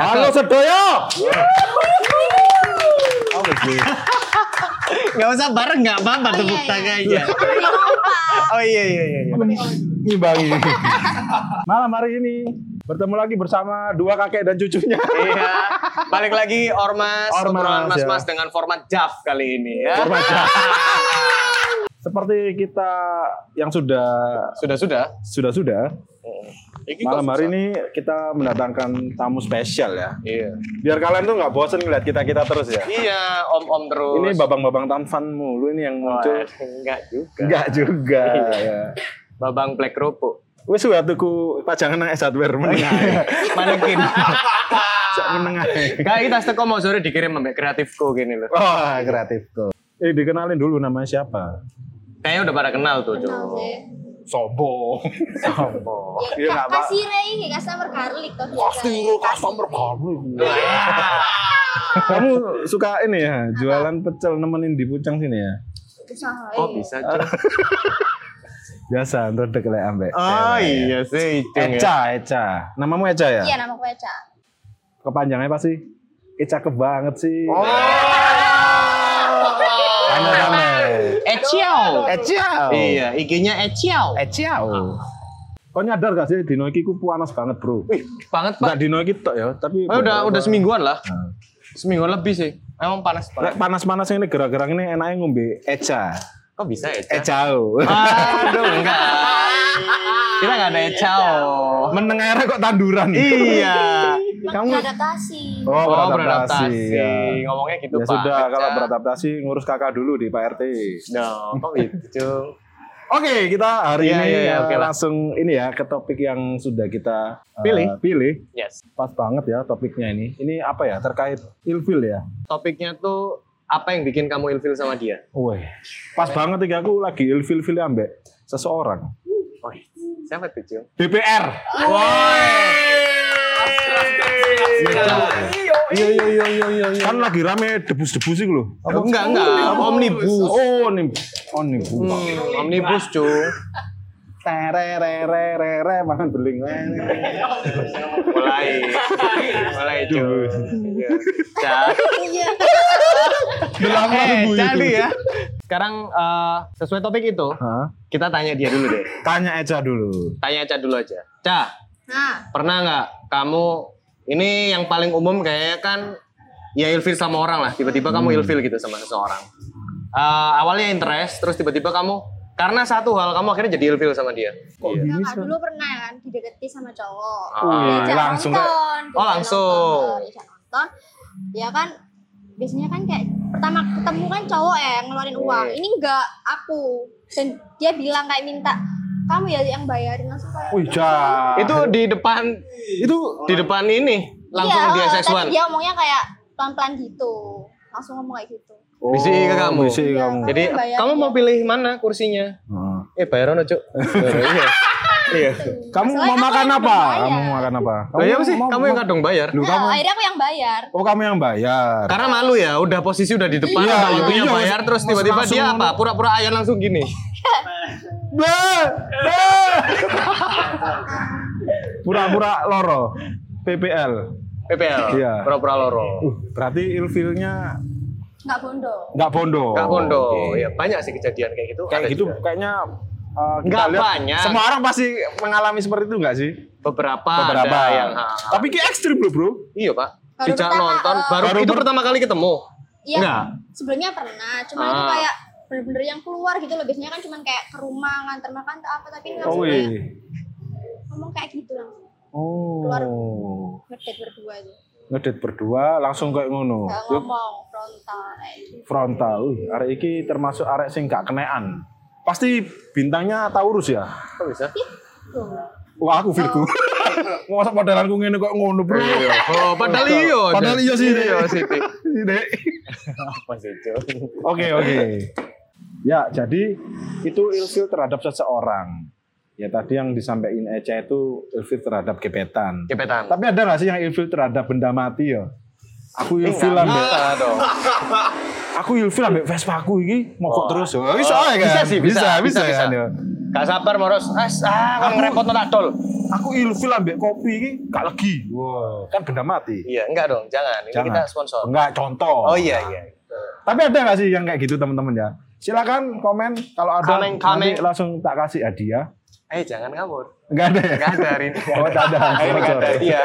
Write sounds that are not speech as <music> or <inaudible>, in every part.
Halo sedoyo. Gak usah bareng gak apa-apa Oh, tepuk iya, tangan iya. aja. Ini apa? Oh iya iya iya. iya. Ngimbangi. Malam hari ini bertemu lagi bersama dua kakek dan cucunya. Iya. Balik lagi ormas, Ormas, obrolan ya. mas-mas dengan format JAF kali ini ya. Remaja. Seperti kita yang sudah Sudah sudah. sudah sudah malam hari ini kita mendatangkan tamu spesial ya. Iya. Biar kalian tuh nggak bosen ngeliat kita kita terus ya. Iya, om-om terus. Ini babang-babang tamfan mulu ini yang Wah, muncul. enggak juga. Enggak juga. ya. Babang Black Rupu. Wis sudah tuku pajangan nang S hardware menengah. <laughs> Manekin. Sak menengah. Gak kita teko mau sore dikirim ambek kreatifku gini loh. Wah, kreatif tuh. Eh dikenalin dulu namanya siapa? Kayaknya udah pada kenal tuh, Cuk. Kenal sih. Sobo. Sopo. Iya, nggak apa. Kasih ini customer garlic tuh. customer kamu. iya. Kamu suka ini ya, jualan pecel nemenin di Pucang sini ya? Usahain. Oh, bisa, Cuk. Biasa, ntar dek lek ambek. Oh cewek. ya. iya sih, Icung ya. Eca, Eca. Namamu Eca ya? Iya nama gue Eca. Kepanjangnya apa sih? Eca ke banget sih. Oh. Rame rame. Eciao. Eca. Iya, IG-nya Eciao. Eciao. Kau nyadar gak sih dino iki ku panas banget, Bro? Wih, banget Enggak pak. dino iki tok ya, tapi Oh, udah udah semingguan lah, Nah. semingguan lebih sih. Emang panas Lek banget. panas-panas ini gerak-gerak ini enaknya ngombe Eca. Kok bisa ya, Eh, Eca? Ecao. Ah. Aduh enggak. Kita nggak ada Ecao. Menengahnya kok tanduran. Iya. Kamu adaptasi. Oh, Oh beradaptasi. beradaptasi. Ya. Ngomongnya gitu Ya pak. sudah, Eca. kalau beradaptasi ngurus kakak dulu di Pak RT. No, kok gitu. Oke, kita hari Iya, ini iya, iya, eh, oke lah. langsung ini ya ke topik yang sudah kita eh, Pilih. pilih. Yes. Pas banget ya topiknya ini. Ini apa ya? Terkait ilfil ya. Topiknya tuh apa yang bikin kamu ilfil sama dia? Wih, pas banget ya aku lagi ilfil-fil ambek seseorang. Oh, siapa tuh Cung? DPR. Iya iya iya iya iya. iya. Kan lagi rame debus-debus itu loh. Oh, enggak enggak. Omnibus. Oh, nih. Oh, nih. Hmm, omnibus Cung. Tererererere makan beling. mulai mulai cuy Cat. Iya. eh, nunggu jadi itu. ya sekarang eh, sesuai topik itu Hah? kita tanya dia dulu deh Tanya Eca dulu. tanya Ca dulu aja Ca Nah, pernah nggak kamu ini yang paling umum kayaknya kan ya ilfil sama orang lah tiba-tiba kamu Hmm. ilfil gitu sama seseorang Eh, awalnya interest terus tiba-tiba kamu karena satu hal kamu akhirnya jadi ilfil sama dia Iya. nah, Kak, dulu pernah kan dideketi sama cowok. Ah, Wih, Diajak langsung nonton, Oh, diajak langsung. nonton, diajak nonton. Ya kan biasanya kan kayak pertama ketemu kan cowok ya yang Iya. ngeluarin uang. Ini enggak aku. Dan dia bilang kayak minta kamu ya yang bayarin langsung kayak Wih, Ca. itu di depan itu di depan ini langsung Iya, dia oh, seksual tapi dia ngomongnya kayak pelan-pelan gitu. Langsung ngomong kayak gitu. Bisik ke kamu. Iya. Bisik Oh, ke kamu. Jadi Kamu bayar ya? kamu mau dia. pilih mana kursinya? Heeh. Eh bayaran <laughs> cuk. iya. Iya. Gitu. Kamu Soalnya mau aku makan yang apa? bayar. Kamu mau makan apa? Lah iya apa sih? mau- Kamu yang kadung bayar. Lu Nah, kamu. akhirnya aku yang bayar. Oh, kamu yang bayar. Karena malu ya, udah posisi udah di depan, Iya, udah iya, waktunya iya, bayar mas- terus mas tiba-tiba langsung dia apa? ngomong. Pura-pura ayam langsung gini. Be! Be! Pura-pura loro. PPL. PPL. Iya. Pura-pura loro. Uh, berarti ilfilnya Enggak bondo. nggak bondo. Kak Kondo, oh, Oke. ya banyak sih kejadian kayak gitu. Kayak ada gitu juga. kayaknya uh, kita Nggak lihat banyak. Semua orang pasti mengalami seperti itu nggak sih? Beberapa, Beberapa ada yang. Tapi kayak ekstrim loh bro. iya pak. Baru Dijak pertama, nonton, eh, baru, Baru itu per- pertama kali ketemu. Iya. Enggak. Sebelumnya pernah, cuma itu Ah. kayak bener-bener yang keluar gitu loh. Biasanya kan cuma kayak ke rumah nganter makan atau apa, tapi ini Oh, langsung Iya. wih. kayak ngomong kayak gitu langsung. Keluar. oh. Ngedate berdua aja. Ngedate berdua langsung kayak ngono. Nggak ngomong frontal kayak gitu. Frontal. Wih, arek iki termasuk arek sing gak kenean. Pasti bintangnya Taurus ya. Kok bisa? Tuh. Wah, aku Virgo. <laughs> Masa modelanku ngene kok ngono, Bro. Oh, padahal iyo. Padahal iya sih. Iyo sih. Dik. Dek. Apa sih, Cuk? Oke, oke. Ya, jadi itu ilfil terhadap seseorang. Ya tadi yang disampaikan Eca itu ilfil terhadap gebetan. Gebetan. Tapi ada nggak sih yang ilfil terhadap benda mati ya? Aku Eh, ilfil ambek Bisa dong. aku ilfil ambek Vespa aku iki mogok Oh. terus. Wah, Bisa Oh, ya kan? bisa sih, bisa, bisa, bisa, bisa, bisa. kan, ya. Gak sabar moros. As, ah, kon ngerepot tak dol. Aku ilfil ambek kopi ini gak legi. Wow. Kan benda mati. Iya, enggak dong, jangan. Ini Jangan. kita sponsor. Enggak contoh. Oh iya iya. Tapi ada nggak sih yang kayak gitu teman-teman ya? Silakan komen kalau ada Komen, komen. nanti langsung tak kasih hadiah. Eh, jangan kabur. Enggak ada ya? Enggak ada <laughs> hari ini. Oh, enggak ada. Hari ini enggak ada. Sorry. Iya.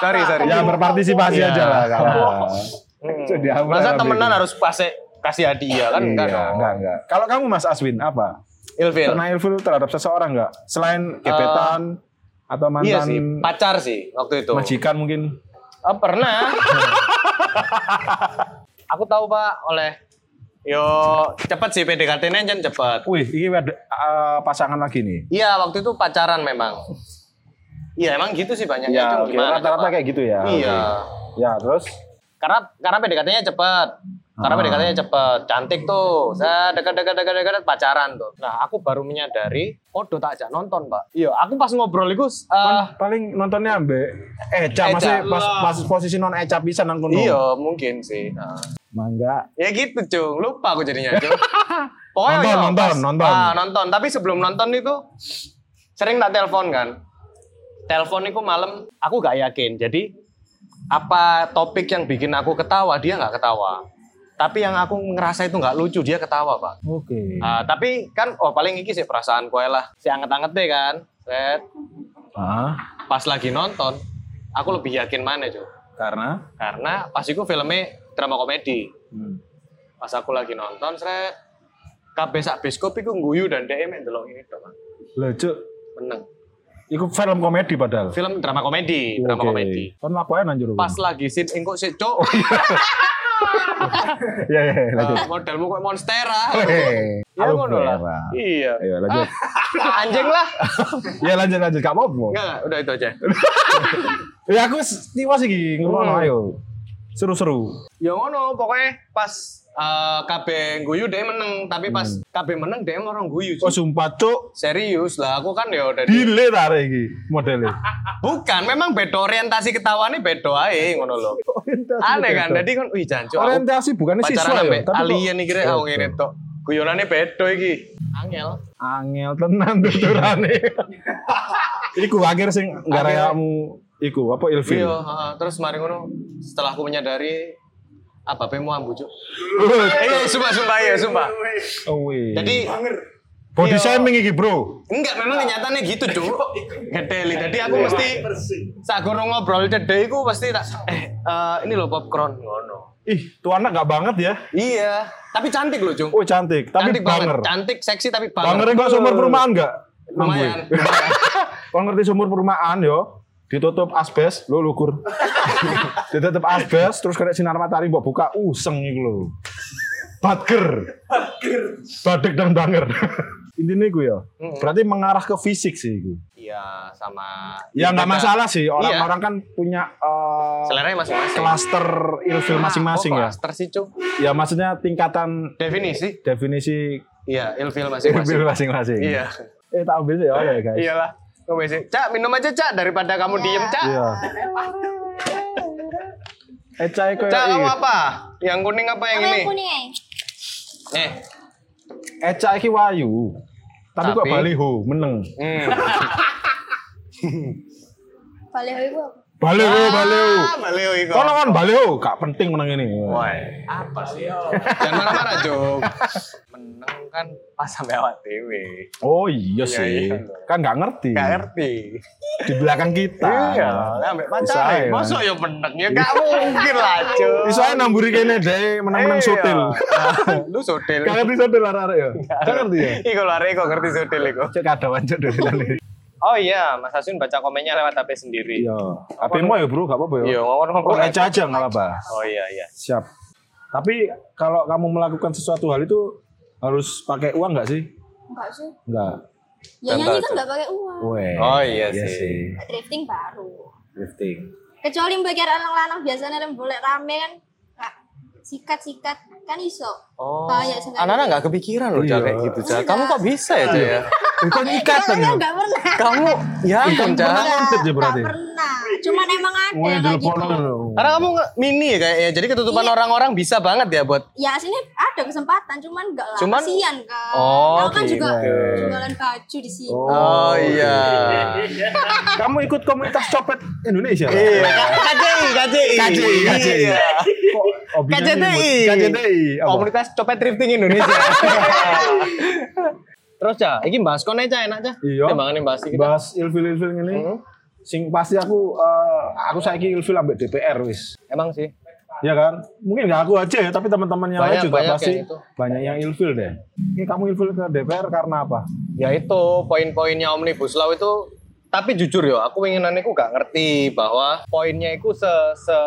Sorry, sorry. Ya berpartisipasi Iya. aja lah kalau. Hmm. Itu dia, Masa berarti. temenan harus pasti kasih hadiah kan enggak Iya, dong. Enggak, enggak. Kalau kamu Mas Aswin apa? Ilfil. Pernah ilfil terhadap seseorang enggak? Selain gebetan atau mantan Eh. Iya sih, pacar sih waktu itu. majikan mungkin. Ah, pernah. <laughs> aku tahu Pak oleh Yo, cepet sih PDKT-nya cepet. cepat. Wih, ini ada eh, pasangan lagi nih. Iya, waktu itu pacaran memang. Iya, emang gitu sih banyak Ya, oke. rata-rata kayak gitu ya. Iya. Oke. Ya, terus Karena karena PDKT-nya cepet. Karena Ah. PDKT-nya cepet, cantik tuh. Saya dekat-dekat dekat-dekat pacaran tuh. Nah, aku baru menyadari, oh, do tak ajak nonton, Pak. Iya, aku pas ngobrol itu eh, Pan- paling nontonnya ambek Eca, Eca. masih pas, pas posisi non Eca pisan nang kono. iya, mungkin sih. Nah. Mangga. Ya gitu cung, lupa aku jadinya <laughs> cung. Pokoknya Nonton, ya, nonton, nonton. Ah, nonton. Tapi sebelum nonton itu sering tak telepon kan. Telepon itu malam, aku gak yakin. Jadi apa topik yang bikin aku ketawa dia nggak ketawa. Tapi yang aku ngerasa itu nggak lucu dia ketawa pak. Oke. Ah, tapi kan oh paling iki sih perasaan kowe lah. Si anget-anget deh kan. Set. Ah, Pas lagi nonton, aku lebih yakin mana cung. karena Karena pas itu filmnya drama komedi. Hmm. pas aku lagi nonton sret kabeh sak bioskop iku ngguyu dan dhek mek ndelok ini tok Mas. Lho, Cuk, meneng iku film komedi padahal. film drama komedi drama Oke. komedi Kon laporan anjur. pas lagi sin engkok sik cok <laughs> Iya, iya, iya, <laughs> lanjut. Eh, modelmu kok monstera Hei, ya aku ngono lah merah. <laughs> iya Ayo lanjut. anjing lah Ya lanjut lanjut gak apa-apa. enggak enggak, udah itu aja Ya aku s- tiwas iki ngono Hmm. ayo. Seru-seru. ya ngono pokoknya pas eh, kabeh ngguyu dhek meneng tapi pas kabeh meneng dhek ora ngguyu Hmm. Oh Cuk. sumpah cuk, serius lah aku kan ya udah di- Ah, dile tarik iki modele. bukan memang beda orientasi ketawanya beda ae ngono <laughs> lho aneh kan jadi kan wih jancuk aku Oh, orientasi bukannya siswa pacaran ya, ambek tapi kok- alien iki rek aku ngene iya. tok. Guyonane bedo iki. Angel. angel tenan <laughs> tuturane. iku akhir sing garayamu iku apa ilfil. Iya, heeh. terus mari ngono setelah aku menyadari apa pemu ambu <laughs> cuk. Eh, sumpah sumpah ya, sumpah. Oh, weh. Jadi body iya. shaming iki, Bro. enggak Iya, memang kenyataannya gitu, <laughs> Cuk. Gedeli. Jadi aku mesti sagoro ngobrol cedek iku pasti tak eh eh, ini loh popcorn ngono. Ih, tuh anak gak banget ya. Iya, tapi cantik loh, Cung. Oh, cantik, tapi cantik banget, banger. cantik, seksi tapi banger. Bangernya Iya. kok sumur perumahan gak? <laughs> Lumayan. Nambah. Kau ngerti sumur perumahan yo, ditutup asbes, lo <laughs> lukur. ditutup asbes, terus kena sinar matahari mbok buka, useng iku lho. Badger. Badek dan banger. <laughs> Intinya gue ya, Mm-mm. berarti mengarah ke fisik sih gue. Iya, sama Ya nggak masalah sih, orang-orang Iya. kan punya eh, Selera masing-masing. klaster ilfil masing-masing Oh, ya. klaster sih, Cung. Ya maksudnya tingkatan Definisi? definisi Iya, ilfil ilfil masing-masing. masing-masing. Iya. Eh tak ambil sih oleh guys. Iyalah. Ngombe sih. Cak, minum aja, Cak, daripada kamu diem, Cak. Iya. Eh cai koyo Cak, kamu iki. apa? Yang kuning apa yang Apa ini? yang kuning eh? Eh. Eca iki wayu. Tapi, kok Tapi- baliho meneng. Hmm. Baliho itu apa? Baliho, baliho. Ah, Baleo iku. Kono kan baliho, gak penting menang ini. Woi, apa sih? Jangan marah-marah, Jok. Menang kan pas sampai awak dewe. Oh iya Iya, sih. iya. Kan gak ngerti. Gak ngerti. Di belakang kita. Iya, lah, ambek Bisa pacar. ya. Masuk ya menang ya gak mungkin lah, Jok. Iya. Iso ae namburi kene deh menang-menang sutil. <laughs> Lu sotil. Gak ngerti sutil arek-arek ya. Gak ngerti ya. <laughs> Iku lho arek kok ngerti sotil iku. Cek kadawan cek dari tadi. Oh iya, Mas Hasun baca komennya lewat HP sendiri. Iya. HP-mu ya, Bro, gak apa-apa ya. Iya, Oh, ngomong-ngomong. Eca aja gak apa-apa. Oh iya iya. Siap. Tapi kalau kamu melakukan sesuatu hal itu harus pakai uang nggak sih? Enggak sih. Nggak. Ya Contoh nyanyi kan aja. enggak pakai uang. Weh. Oh, iya sih. Drifting baru. Lifting. Kecuali bagi anak-anak biasanya yang boleh rame kan. Nggak, Sikat-sikat kan iso. Oh. Banyak sekali. Anak-anak nggak kepikiran loh Iya. Cak, kayak gitu Cak. Kamu kok bisa ya Cak ya? Itu ikatan Iya, ya. nggak pernah. Kamu ya ampun, Cak. pernah ngontet ya berarti? Nggak pernah. Cuman emang ada Wah, yang dulu kayak gitu. Karena kamu nge- mini ya kayaknya. Jadi ketutupan Iya. orang-orang bisa banget ya buat Ya sini ada kesempatan, cuman nggak lah. Cuman- Kasian kan. Oh, Aku kan gitu. juga jualan baju di sini. Oh. Oh, iya. Kamu ikut komunitas copet Indonesia? Iya, KCI, KCI. KCI, KCI. Iya. Kok hobinya KCTI. nyebut- KCTI. apa? Komunitas copet drifting <laughs> Indonesia. Terus ya, ini bahas kon aja enak aja. Iya. Timbangannya bahas kita. Bahas ilfil-ilfil ini. Mm-hmm. Sing pasti aku eh, aku saiki ilfil ambek DPR wis. Emang sih. Ya kan? Mungkin gak aku aja ya, tapi teman-teman yang lain Banyak- juga banyak pasti yang itu. banyak yang ilfil deh. Ini kamu ilfil ke DPR karena apa? Ya itu poin-poinnya Omnibus Law itu tapi jujur yo, aku inginannya aku gak ngerti bahwa poinnya itu se, se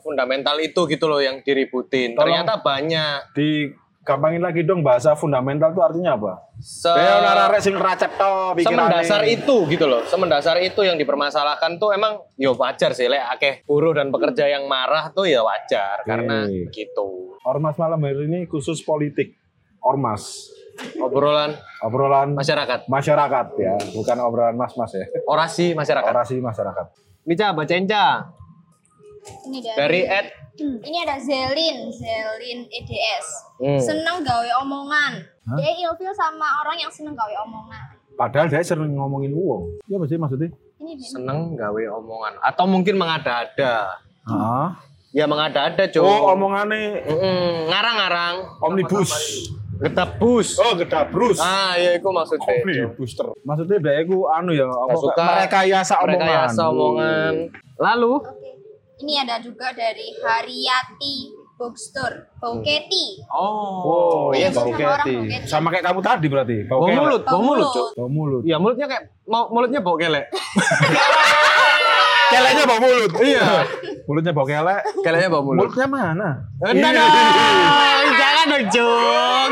fundamental itu gitu loh yang diributin. Tolong. Ternyata banyak. Digampangin lagi dong bahasa fundamental itu artinya apa? Se, Ya ora arek sing racep to pikirane. semendasar itu gitu loh semendasar itu yang dipermasalahkan tuh emang yo wajar sih lek akeh buruh dan pekerja yang marah tuh ya wajar karena Oke. gitu Ormas malam hari ini khusus politik. Ormas. obrolan Obrolan masyarakat masyarakat ya, bukan obrolan mas-mas ya. orasi masyarakat Orasi masyarakat. Nica bacain Ca. Ini dari, dari Ed ini ada Zelin, Zelin EDS. Hmm. Seneng gawe omongan. Dia ilfil sama orang yang seneng gawe omongan. Padahal dia sering ngomongin uang. Ya apa sih maksudnya? Ini dia. seneng gawe omongan atau mungkin mengada-ada Ah. ya mengada-ada cuy Oh, omongannya Mm-mm, ngarang-ngarang omnibus. getebus Oh, gedabrus. ah ya itu maksudnya booster. Maksudnya dia itu anu ya, apa Gak suka. merekayasa omongan. rekayasa omongan lalu Oke. Ini ada juga dari Haryati Bookstore, Boketi. Oh, iya, bau Ilfil sama orang keti. Boketi. Sama kayak kamu tadi berarti. Bau Bau kelek. mulut, bau mulut, Cuk. Bau mulut. Ya mulutnya kayak mau mulutnya bau kelek. <laughs> Keleknya bau mulut. Iya. Mulutnya bau kelek. Keleknya bau mulut. Eh, Mulutnya mana? Iya. Enggak dong, jangan dong Jung.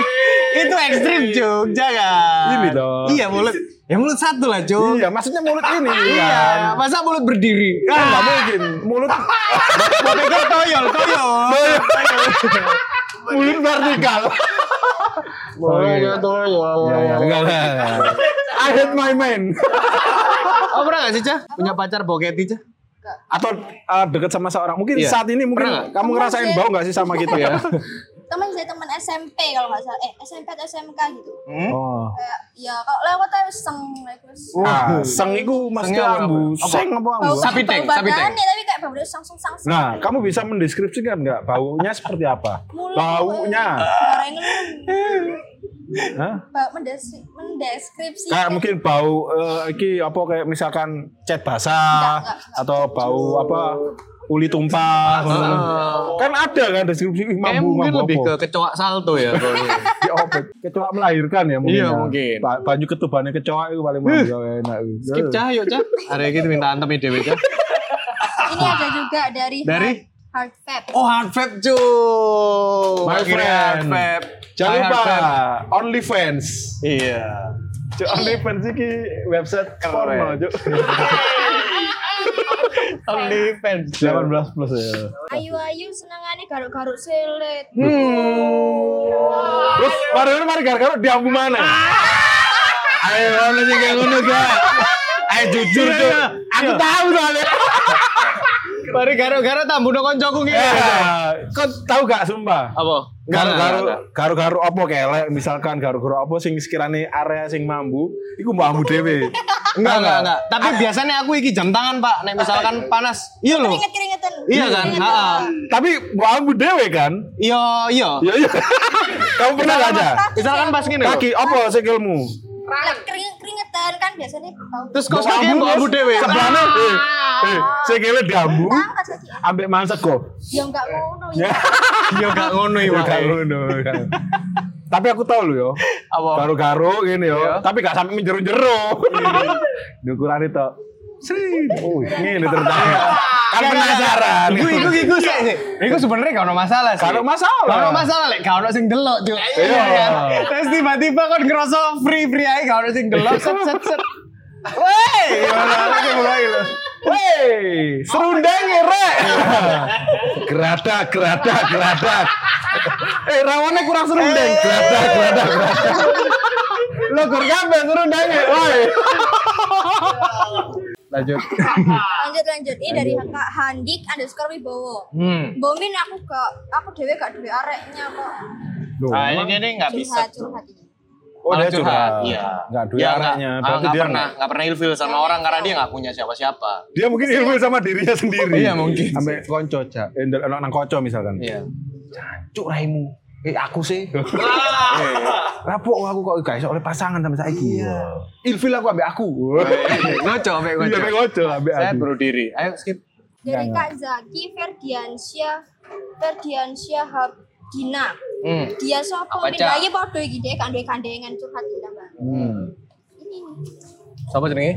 Itu ekstrim Jung, jangan. Ini dong. Iya mulut. Ya mulut satu lah Jung. Iya, maksudnya mulut ini. Iya, masa mulut berdiri? Kan Ah, nggak mungkin. <laughs> Mulut mau pikir toyol, toyol. mulut vertikal. Iya, Mulutnya toyol. Iya, Ya, ya, enggak lah. I hate my man. Oh pernah gak sih Cah? Punya pacar boketi Cah? Atau uh, deket sama seorang. Mungkin Iya. saat ini mungkin Pernah nggak? kamu ngerasain bau nggak sih sama kita? Iya. Teman saya teman SMP kalau nggak salah, eh SMP atau SMK gitu. Oh. Kayak ya kalau lewat aja seng, like, terus Ah, seng itu maksudnya Sengnya apa? ambu. Apa? Seng apa ambu? bau Sapi teng, bau sapi teng. badannya, ya, tapi kayak bau sang sung sang sung. Nah, kamu bisa mendeskripsikan nggak baunya seperti apa? Mulut. Baunya. Barang ini Hah? bau mendes- mendeskripsikan. Kayak mungkin bau eh, iki apa kayak misalkan cat basah Nggak, nggak, atau bau apa uli tumpah. kan ada kan deskripsi ih, Kayaknya mambu mungkin mambu lebih apa? ke kecoak salto ya. kalau ini. diobek kecoa melahirkan ya mungkin. Iya, ya. mungkin. Ba- banyu ketubannya kecoa itu paling mandi ya, enak. Skip Cah, yuk Cah. Hari ini minta antem ide Cah. Ini ada juga dari Dari? Hard, hard Fab. Oh, hard vape cuy. My Akhirnya friend. Hard vape. Jangan My lupa hard vape. OnlyFans. Iya. Cuk, OnlyFans iki website porno, Cuk. Only fans. 18 plus ya. Ayu-ayu senengane garuk-garuk selit. Hmm. Terus baru ini mari gara-gara diambu mana? Ah, Ayo, ono sing kayak ngono gak? Ayo iya, jujur, Cuk. Aku tahu soalnya. Mari garo-garo tambu no koncoku gitu. Iya. Kau tahu gak sumpah? Apa? garu-garu garu-garu apa kelek misalkan garu-garu apa sing sekirane area sing mambu iku mbok ambu <laughs> dhewe Enggak, enggak, enggak. Tapi biasanya aku iki jam tangan, Pak. Nek misalkan panas. Iya loh. Keringet-keringetan. Iya kan? Keringetan. Ha. tapi mbok ambu dhewe kan Iya, iya. ya iya kamu pernah gak ada Misalkan pas gini. kaki apa sikilmu Lah, keringet- keringetan kan biasanya bau. Terus kos kaki mbok ambu Ah. dewe. sebelahnya eh eh sikile diambu Angkat lagi. ambek manset kok Ya enggak ngono ya ya. Iya <laughs> gak ngono iki, Ya, Pak. gak ngono, kan. tapi aku tahu lho yo Apa? garu-garu gini Iya. yo tapi gak sampai menjeru-jeru ukuran itu Sri, oh, ini tertanya. Kan penasaran. Iya. Iya. Iku iku iku sik sik. Iku sebenarnya gak ono masalah sih. Gak ono masalah. Gak ono masalah lek gak ono sing delok cuy. Iya. kan? Terus tiba-tiba kon ngerasa free free ae gak ono sing delok set set set. Woi, Wey, serundeng rek. geradak, geradak, Eh. geradak. Eh, rawannya kurang serundeng. Geradak, geradak, geradak. Lo kur kabeh suruh nyanyi. Woi. Lanjut. lanjut lanjut ini dari kak Handik underscore Wibowo Hmm. Bomin aku gak aku dewe gak duwe areknya kok Loh, Nah, ini emang- jadi nggak bisa. curhat curhat ini oh dia Malah curhat. Iya. Enggak duit Ya, arahnya. nggak- Berarti nggak dia pernah, nggak- nggak pernah ilfil sama orang karena dia nggak punya siapa-siapa. Dia mungkin ilmu sama dirinya sendiri. Iya, mungkin. Sampai konco cak endel anak nang koco misalkan. <laughs> Iya. cuk raimu eh aku <laughs> sih Rapuh aku kok guys oleh pasangan sampai saiki. Iya. ilfil aku ambil aku Ngoco, ambek Iya, ngoco. sampai koco ambek Saya aku. bunuh diri. Ayo skip. dari Kak Zaki Ferdiansyah Ferdiansyah Habdina Hmm. dia sopo Apa, ning Cak? lagi podo iki dhek kandhe kandengan curhat iki tambah Hmm. ini Siapa jenenge?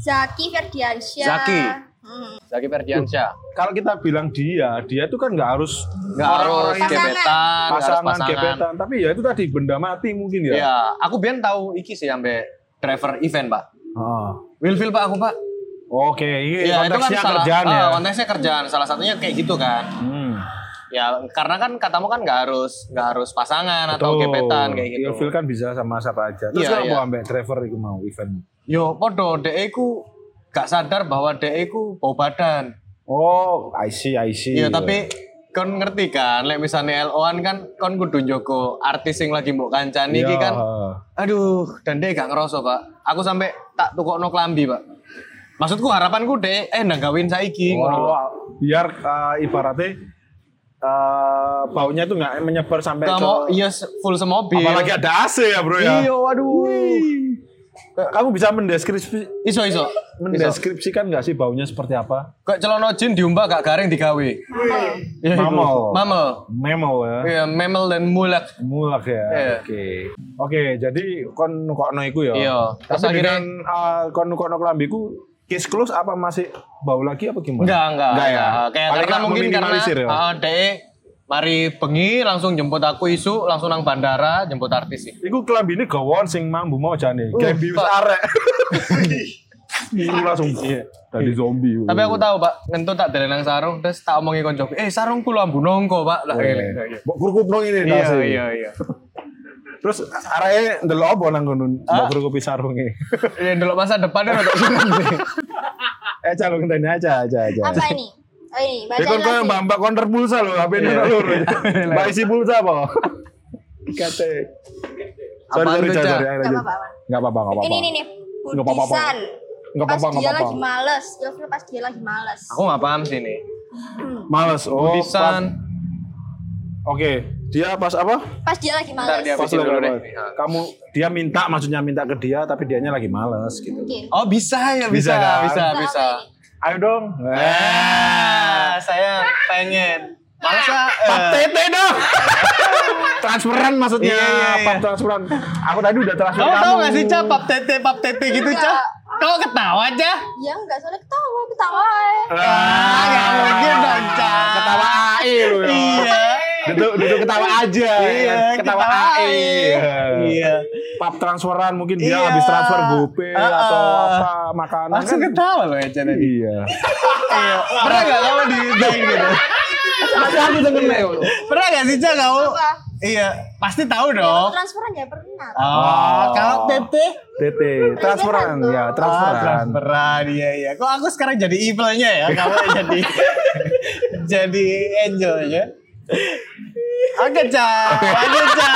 Zaki Ferdiansyah Zaki. hmm. Zaki Ferdiansyah. Kalau kita bilang dia, dia itu kan nggak harus Enggak harus Pasangan. gebetan, nggak harus pasangan, pasangan. gebetan, tapi ya itu tadi benda mati mungkin ya. Iya, aku biar tahu iki sih sampai driver event, Pak. Ah. Wilfil Pak aku, Pak. Iya, Oke, ini Iya, konteksnya salah- kerjaan ya. ah, konteksnya kerjaan. Salah satunya kayak gitu kan. Hmm. Ya, karena kan katamu kan nggak harus nggak harus pasangan atau Betul. gebetan kayak gitu. Ilfil kan bisa sama siapa aja. Terus Iya, kalau iya. mau ambek driver itu mau event. Yo, podo DE ku gak sadar bahwa DE ku bau badan. Oh, I see, I see. Iya, tapi kon ngerti kan, lek misalnya LO-an kan kon kudu njogo artis yang lagi mbok kancani iki Iya. kan. Aduh, dan DE gak ngerasa, Pak. Aku sampai tak tukokno klambi, Pak. Maksudku harapanku DE eh nanggawin saiki ngono lho. Wah, biar eh, ibaratnya eh, baunya itu nggak menyebar sampai Kamu ke iya full semobil. apalagi ada AC ya bro ya Iya, waduh. Ka- kamu bisa mendeskripsi Iso iso. Iso. mendeskripsikan nggak sih baunya seperti apa Kok celana jin diumbah gak garing digawe. Iya, iku. Mamel. Mamel. memo ya Iya, memel dan mulak. mulak ya Iya. oke oke jadi kon nukokno iku ya Iya. Terus tapi akhirnya- dengan eh, kon nukokno kelambiku case close apa masih bau lagi apa gimana Enggak, enggak. Enggak ya? Kayak Paling karena nggak mungkin karena meminimalisir ya? ah, DE mari bengi langsung jemput aku isu langsung nang bandara jemput artis sih. Iku kelambi ini gawon sing mambu mau jane. Kayak bius Pak. <laughs> arek. Iku langsung dari zombie. Iya. Iya, Tapi aku tahu, Pak, ngentut tak dari nang sarung terus tak omongi koncoku. Eh, sarungku lu ambu nongko, Pak. Lah ngene. Mbok kurkup nang ini gitu. Iya, tasnya. iya, iya. iya. Terus areke ndelok apa nang kono? Mbok e. kurkup sarunge. Ya ndelok masa depannya untuk sih. <laughs> Eh calo ngenteni <laughs> aja aja aja. apa ini oh ini Ya bacain kon koyo lagi mbak mbak konter pulsa lho, HP Iya. ini <laughs> lho. Mbak isi pulsa apa? Kate. Sorry, Apaan sorry, tuh, sorry, Cak? sorry, ayo Gak lanjut. apa-apa, Wan. Nggak apa-apa, nggak apa-apa. ini nih nih Nggak apa-apa, Pak. Budisan Nggak pas apa-apa, nggak dia lagi apa-apa. males Ilfil pas dia lagi males Aku nggak paham sih ini. Males. Oh, pas- Pisan. Oke, dia pas apa? pas dia lagi males Ntar dia Pas habisin lo dulu kalau deh. ya, kamu dia minta maksudnya minta ke dia tapi dianya lagi males gitu. mungkin Oh, bisa ya, bisa, Bisa, kan? bisa, Apa bisa. ini? Ayo dong. Eh. Ah, saya pengen. Males lah. Pap eh. tete dong. <laughs> transferan maksudnya. Iya, iya, iya. Pap transferan. Aku tadi udah transfer Kamu kamu. tahu gak sih, Ca, pap tete, pap tete gitu, Ca? Kau ketawa, Ca? ya enggak soalnya ketawa ketawa Ah, gak mungkin dong, Ca. Ketawa AI lu ya. Iya. Duduk, duduk ketawa Gitu aja. Iya, ketawa, E. ketawa AI. Iya. Pap transferan mungkin dia Iya. habis transfer GoPay Ah, atau ah. apa makanan Langsung kan. ketawa loh, ya, Ca, tadi. Iya. Pernah gak kamu di kayak gitu? Masih aku denger nih. Pernah gak sih, Ca, kamu? Apa? Iya, pasti tahu Kalau Iya. dong. transferan ya pernah Ah, Oh, kalau tete? TT, transferan ya, Ah, transferan. transferan iya iya. Kok aku sekarang jadi evilnya ya? Kamu yang jadi <laughs> jadi angelnya. Iya. Oke, Ca. Oke, Ca.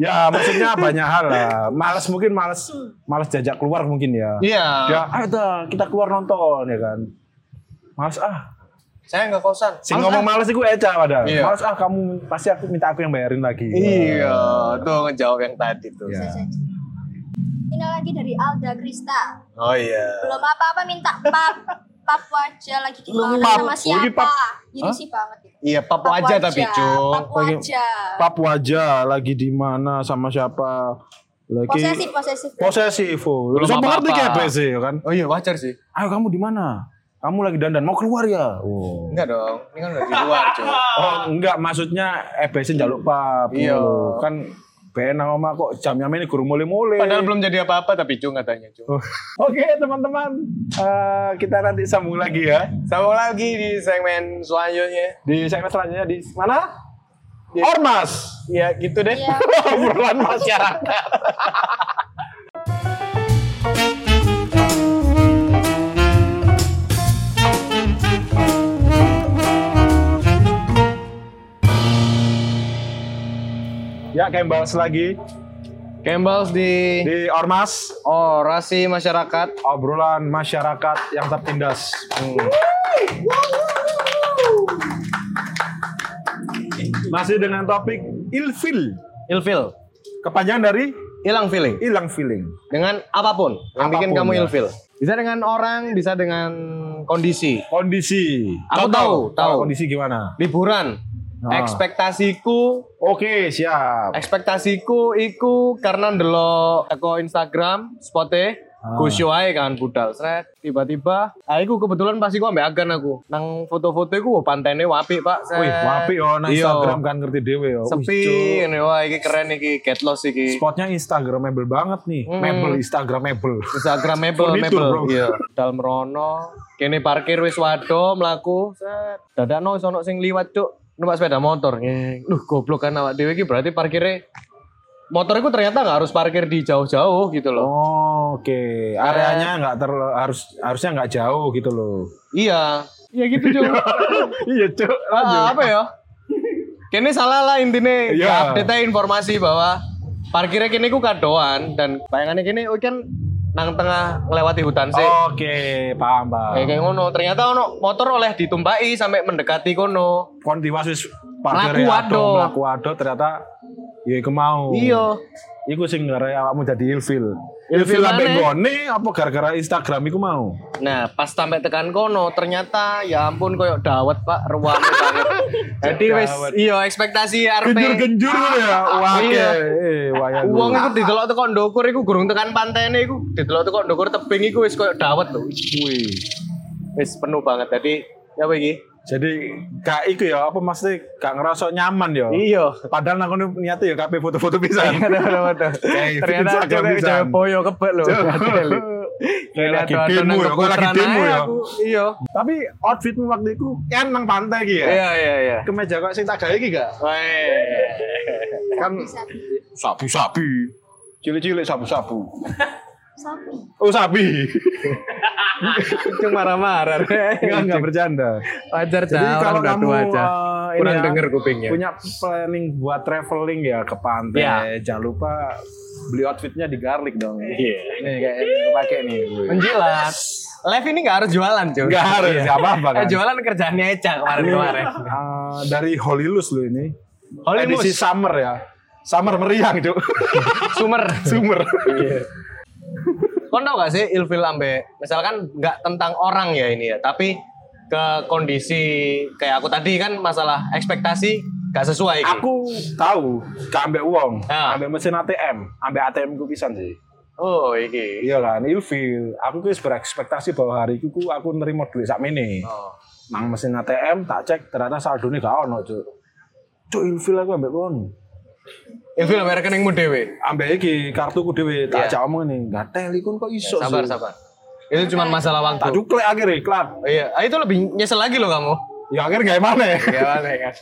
Ya, maksudnya banyak hal lah. Males mungkin males males jajak keluar mungkin ya. Iya. Ya, ayo dah, kita keluar nonton ya kan. Males ah. Saya nggak kosan. Sing ngomong males ah. iku Eca padahal. Iya. Males ah kamu pasti aku minta aku yang bayarin lagi. Ya. Iya, tuh ngejawab yang tadi tuh. Iya. Bisa saja. Ini lagi dari Alda Krista. Oh iya. Belum apa-apa minta pap pap wajah lagi Belum dimana pap. Oh, sama ini siapa? pap. Ini sih banget gitu. Iya, pap aja tapi, Pap Cung. wajah. Pap wajah lagi di mana sama siapa? Lagi Posesif, posesif. Posesif. oh. Belum Bisa mengerti apa-apa. kayak sih ya kan. Oh iya, wajar sih. Ayo kamu di mana? Kamu lagi dandan mau keluar ya? Oh. Enggak dong. Ini kan udah di luar, Cung. Oh, enggak maksudnya EBC njaluk pap. Iya. Loh, Kan ben nang omah kok jam-jam ini guru mulai-mulai. Padahal belum jadi apa-apa tapi Cung katanya, Cung. Oke, teman-teman. Eh, kita nanti sambung lagi ya Sambung lagi di segmen selanjutnya. di segmen selanjutnya di mana? Ormas. Ya gitu deh. Iya. Obrolan masyarakat. Ya kembali lagi Kembals di di Ormas. orasi masyarakat. Obrolan masyarakat yang tertindas. Hmm. Masih dengan topik ilfil. Ilfil. Kepanjangan dari Hilang feeling. hilang feeling. dengan apapun yang bikin Apapun, kamu ya. ilfil. Bisa dengan orang, bisa dengan kondisi. Kondisi. Aku tahu, tahu. Kondisi gimana? Liburan. Ah. Ekspektasiku, Oke, siap. ekspektasiku iku karena ndelok teko Instagram, spote Ah. Gusyo ae kan budal sret tiba-tiba ah iku kebetulan pas iku ambek agan aku nang foto-foto iku wah, pantene wapi Pak sret. Wih, wapi yo nang Eh, Iya. Instagram kan ngerti dewe yo. Wih, sepi cuk. ngene wah iki keren iki get lost iki Spotnya Instagramable banget nih. Hmm. Mebel Instagramable. Instagramable, Furniture, mebel. bro. <laughs> Iya. Dal merono, kene parkir wis wado mlaku. set. Dadakno wis ono sing liwat, Cuk. Numpak sepeda motor. Ngeng. Duh, goblok kan awak dhewe iki berarti parkire motor itu ternyata nggak harus parkir di jauh-jauh gitu loh. Oh, Oke, areanya Eh. nggak terlalu harus harusnya nggak jauh gitu loh. <laughs> Iya. Iya gitu, Cuk. iya cuk. <laughs> Ah, apa ya? Kene salah lah intine. Iya. Ya, Update informasi bahwa parkirnya kene ku kadoan dan bayangannya kene oh, kan nang tengah ngelewati hutan sih. Oke, paham paham. Kayak kayak ngono, ternyata ono motor oleh ditumpaki sampai mendekati kono. Kon tiwas wis parkir Mlaku ya ado. ado, mlaku ado ternyata ya iku mau. Iya. Iku sing gara awakmu jadi ilfil. Ilfil Ilfil sampe maneh. gone apa gara-gara Instagram iku mau? Nah, pas sampai tekan kono, ternyata ya ampun koyok dawet Pak, ruangnya <laughs> banget. Jadi wis Dawet. iya ekspektasi RP. Genjur-genjur gitu ya. Wah, Iya. iya. eh, wayang. Uang iku didelok teko ndukur iku gurung tekan pantene iku didelok teko ndukur tebing iku wis koyok dawet lho. Wih. Wis penuh banget. Jadi ya apa iki? Jadi gak iku ya apa maksudnya gak ngerasa nyaman ya. Iya. <laughs> Padahal nang kono niate ya kabeh foto-foto pisan. Kayak bikin Ternyata seragam cewek pisan. Jawa boyo kebet lho. Kayak lagi demo ya, kok lagi demo ya. Iya. Tapi outfitmu waktu itu kan nang pantai iki ya. Iya iya iya. Kemeja kok sing tak gawe iki gak? Weh. Kan sapi sabu-sabu. Cilik-cilik sabu-sabu. sapi Oh, sapi. Cung marah-marah. Enggak enggak bercanda. Wajar Eh, Jadi dah, kalau orang udah kamu tua aja. eh, ini Kurang ya, denger kupingnya. punya planning buat traveling ya ke pantai, Iya. jangan lupa beli outfitnya di garlic dong. Iya. Nih kayak yang pakai nih. Menjilat. Live ini gak harus jualan, cuy. Enggak harus, Iya. enggak apa-apa kan. jualan kerjaannya Eca kemarin-kemarin. Eh, dari Holilus lu ini. Holilus. Edisi summer ya. Summer meriang, <laughs> Cuk. Sumer. Summer. Iya. Kau tau gak sih ilfil ambe? Misalkan gak tentang orang ya ini ya, tapi ke kondisi kayak aku tadi kan masalah ekspektasi gak sesuai. gitu. Ki. Aku tahu, gak ambek uang, Ah. ambek mesin ATM, ambek ATM ku pisan sih. Oh iki. Iya kan, ilfil. Aku kuis berekspektasi bahwa hari itu ku- aku nerima duit sakmene. Oh. nang mesin ATM tak cek ternyata saldo gak ono cuk cuk ilfil aku ambek kon Ilfil ambe rekeningmu dewe. ambek iki kartuku dhewe Iya. tak ajak omong ngene gatel iku kok iso Sabar Su?" sabar. Itu cuma masalah tak waktu. cuklek akhirnya klat Oh, iya, ah, itu lebih nyesel lagi loh kamu. ya akhirnya gak mana Gimana kan?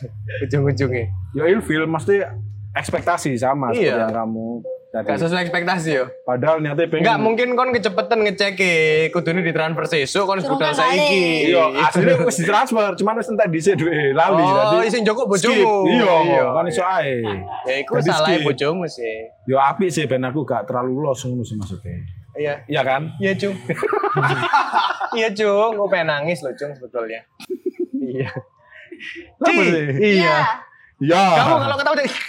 Ujung-ujungnya. ya ilfil mesti ekspektasi sama seperti Iya. yang kamu tadi Gak sesuai ekspektasi yo. padahal niatnya pengen Enggak mungkin kon kecepetan ngecek e, kudune ditransfer sesuk kon Suruh budal nang balik. saiki. Iya, aslinya wis ditransfer, cuman wis entek dhisik duwe lali Oh, tadi. sing joko bojomu. Iya, Iya, kan iso ae. Ya iku Jadi salah skip. bojomu sih. Yo apik sih ben aku gak terlalu los ngono sih maksudnya. Iya. Iya kan? Iya, Cung. <laughs> Iya, Cung. Gue pengen nangis loh, Cung, sebetulnya. Iya. Ci, Kenapa sih? iya. Iya. Kamu kalau ketawa jadi <laughs>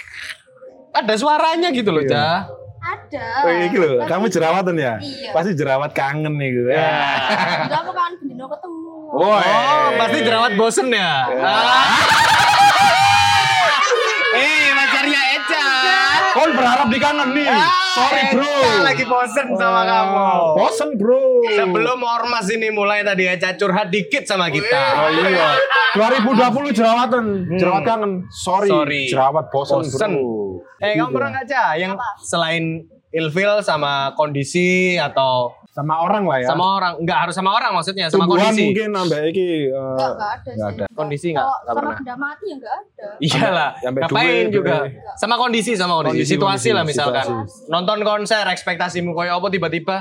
ada suaranya gitu loh, Iya. Cah. ada Oh, iki lho, kamu jerawatan ya? Iya. Pasti jerawat kangen nih gue. Enggak, aku kangen Bendino ketemu Woi. Iya. Oh, pasti jerawat bosen ya. Ah. Eh, pacarnya Eca. Kon berharap dikangen nih. Sorry, Bro. Eca Ah, eh, lagi bosen sama kamu. Bosen, Bro. Sebelum ormas ini mulai tadi Eca curhat dikit Oh sama kita. iya. 2020 jerawatan, jerawat kangen. Sorry, Hmm. Sorry. jerawat bosen, Bosen. Bro. Gitu. Eh, kamu pernah nggak Ca yang selain ilfil sama kondisi atau sama orang lah ya. Sama orang, nggak harus sama orang maksudnya, sama Tumbuhan kondisi. mungkin nambah iki eh, Enggak, enggak ada. nggak sih. ada. Kondisi nggak? Kalau Nggak sama pernah. benda mati ya enggak ada. Iyalah, Sampai- sampai Iya ngapain duit, juga. duit. Sama kondisi, sama kondisi. Kondisi, situasi kondisi, lah misalkan. situasi. Nonton konser, ekspektasimu koyo apa tiba-tiba.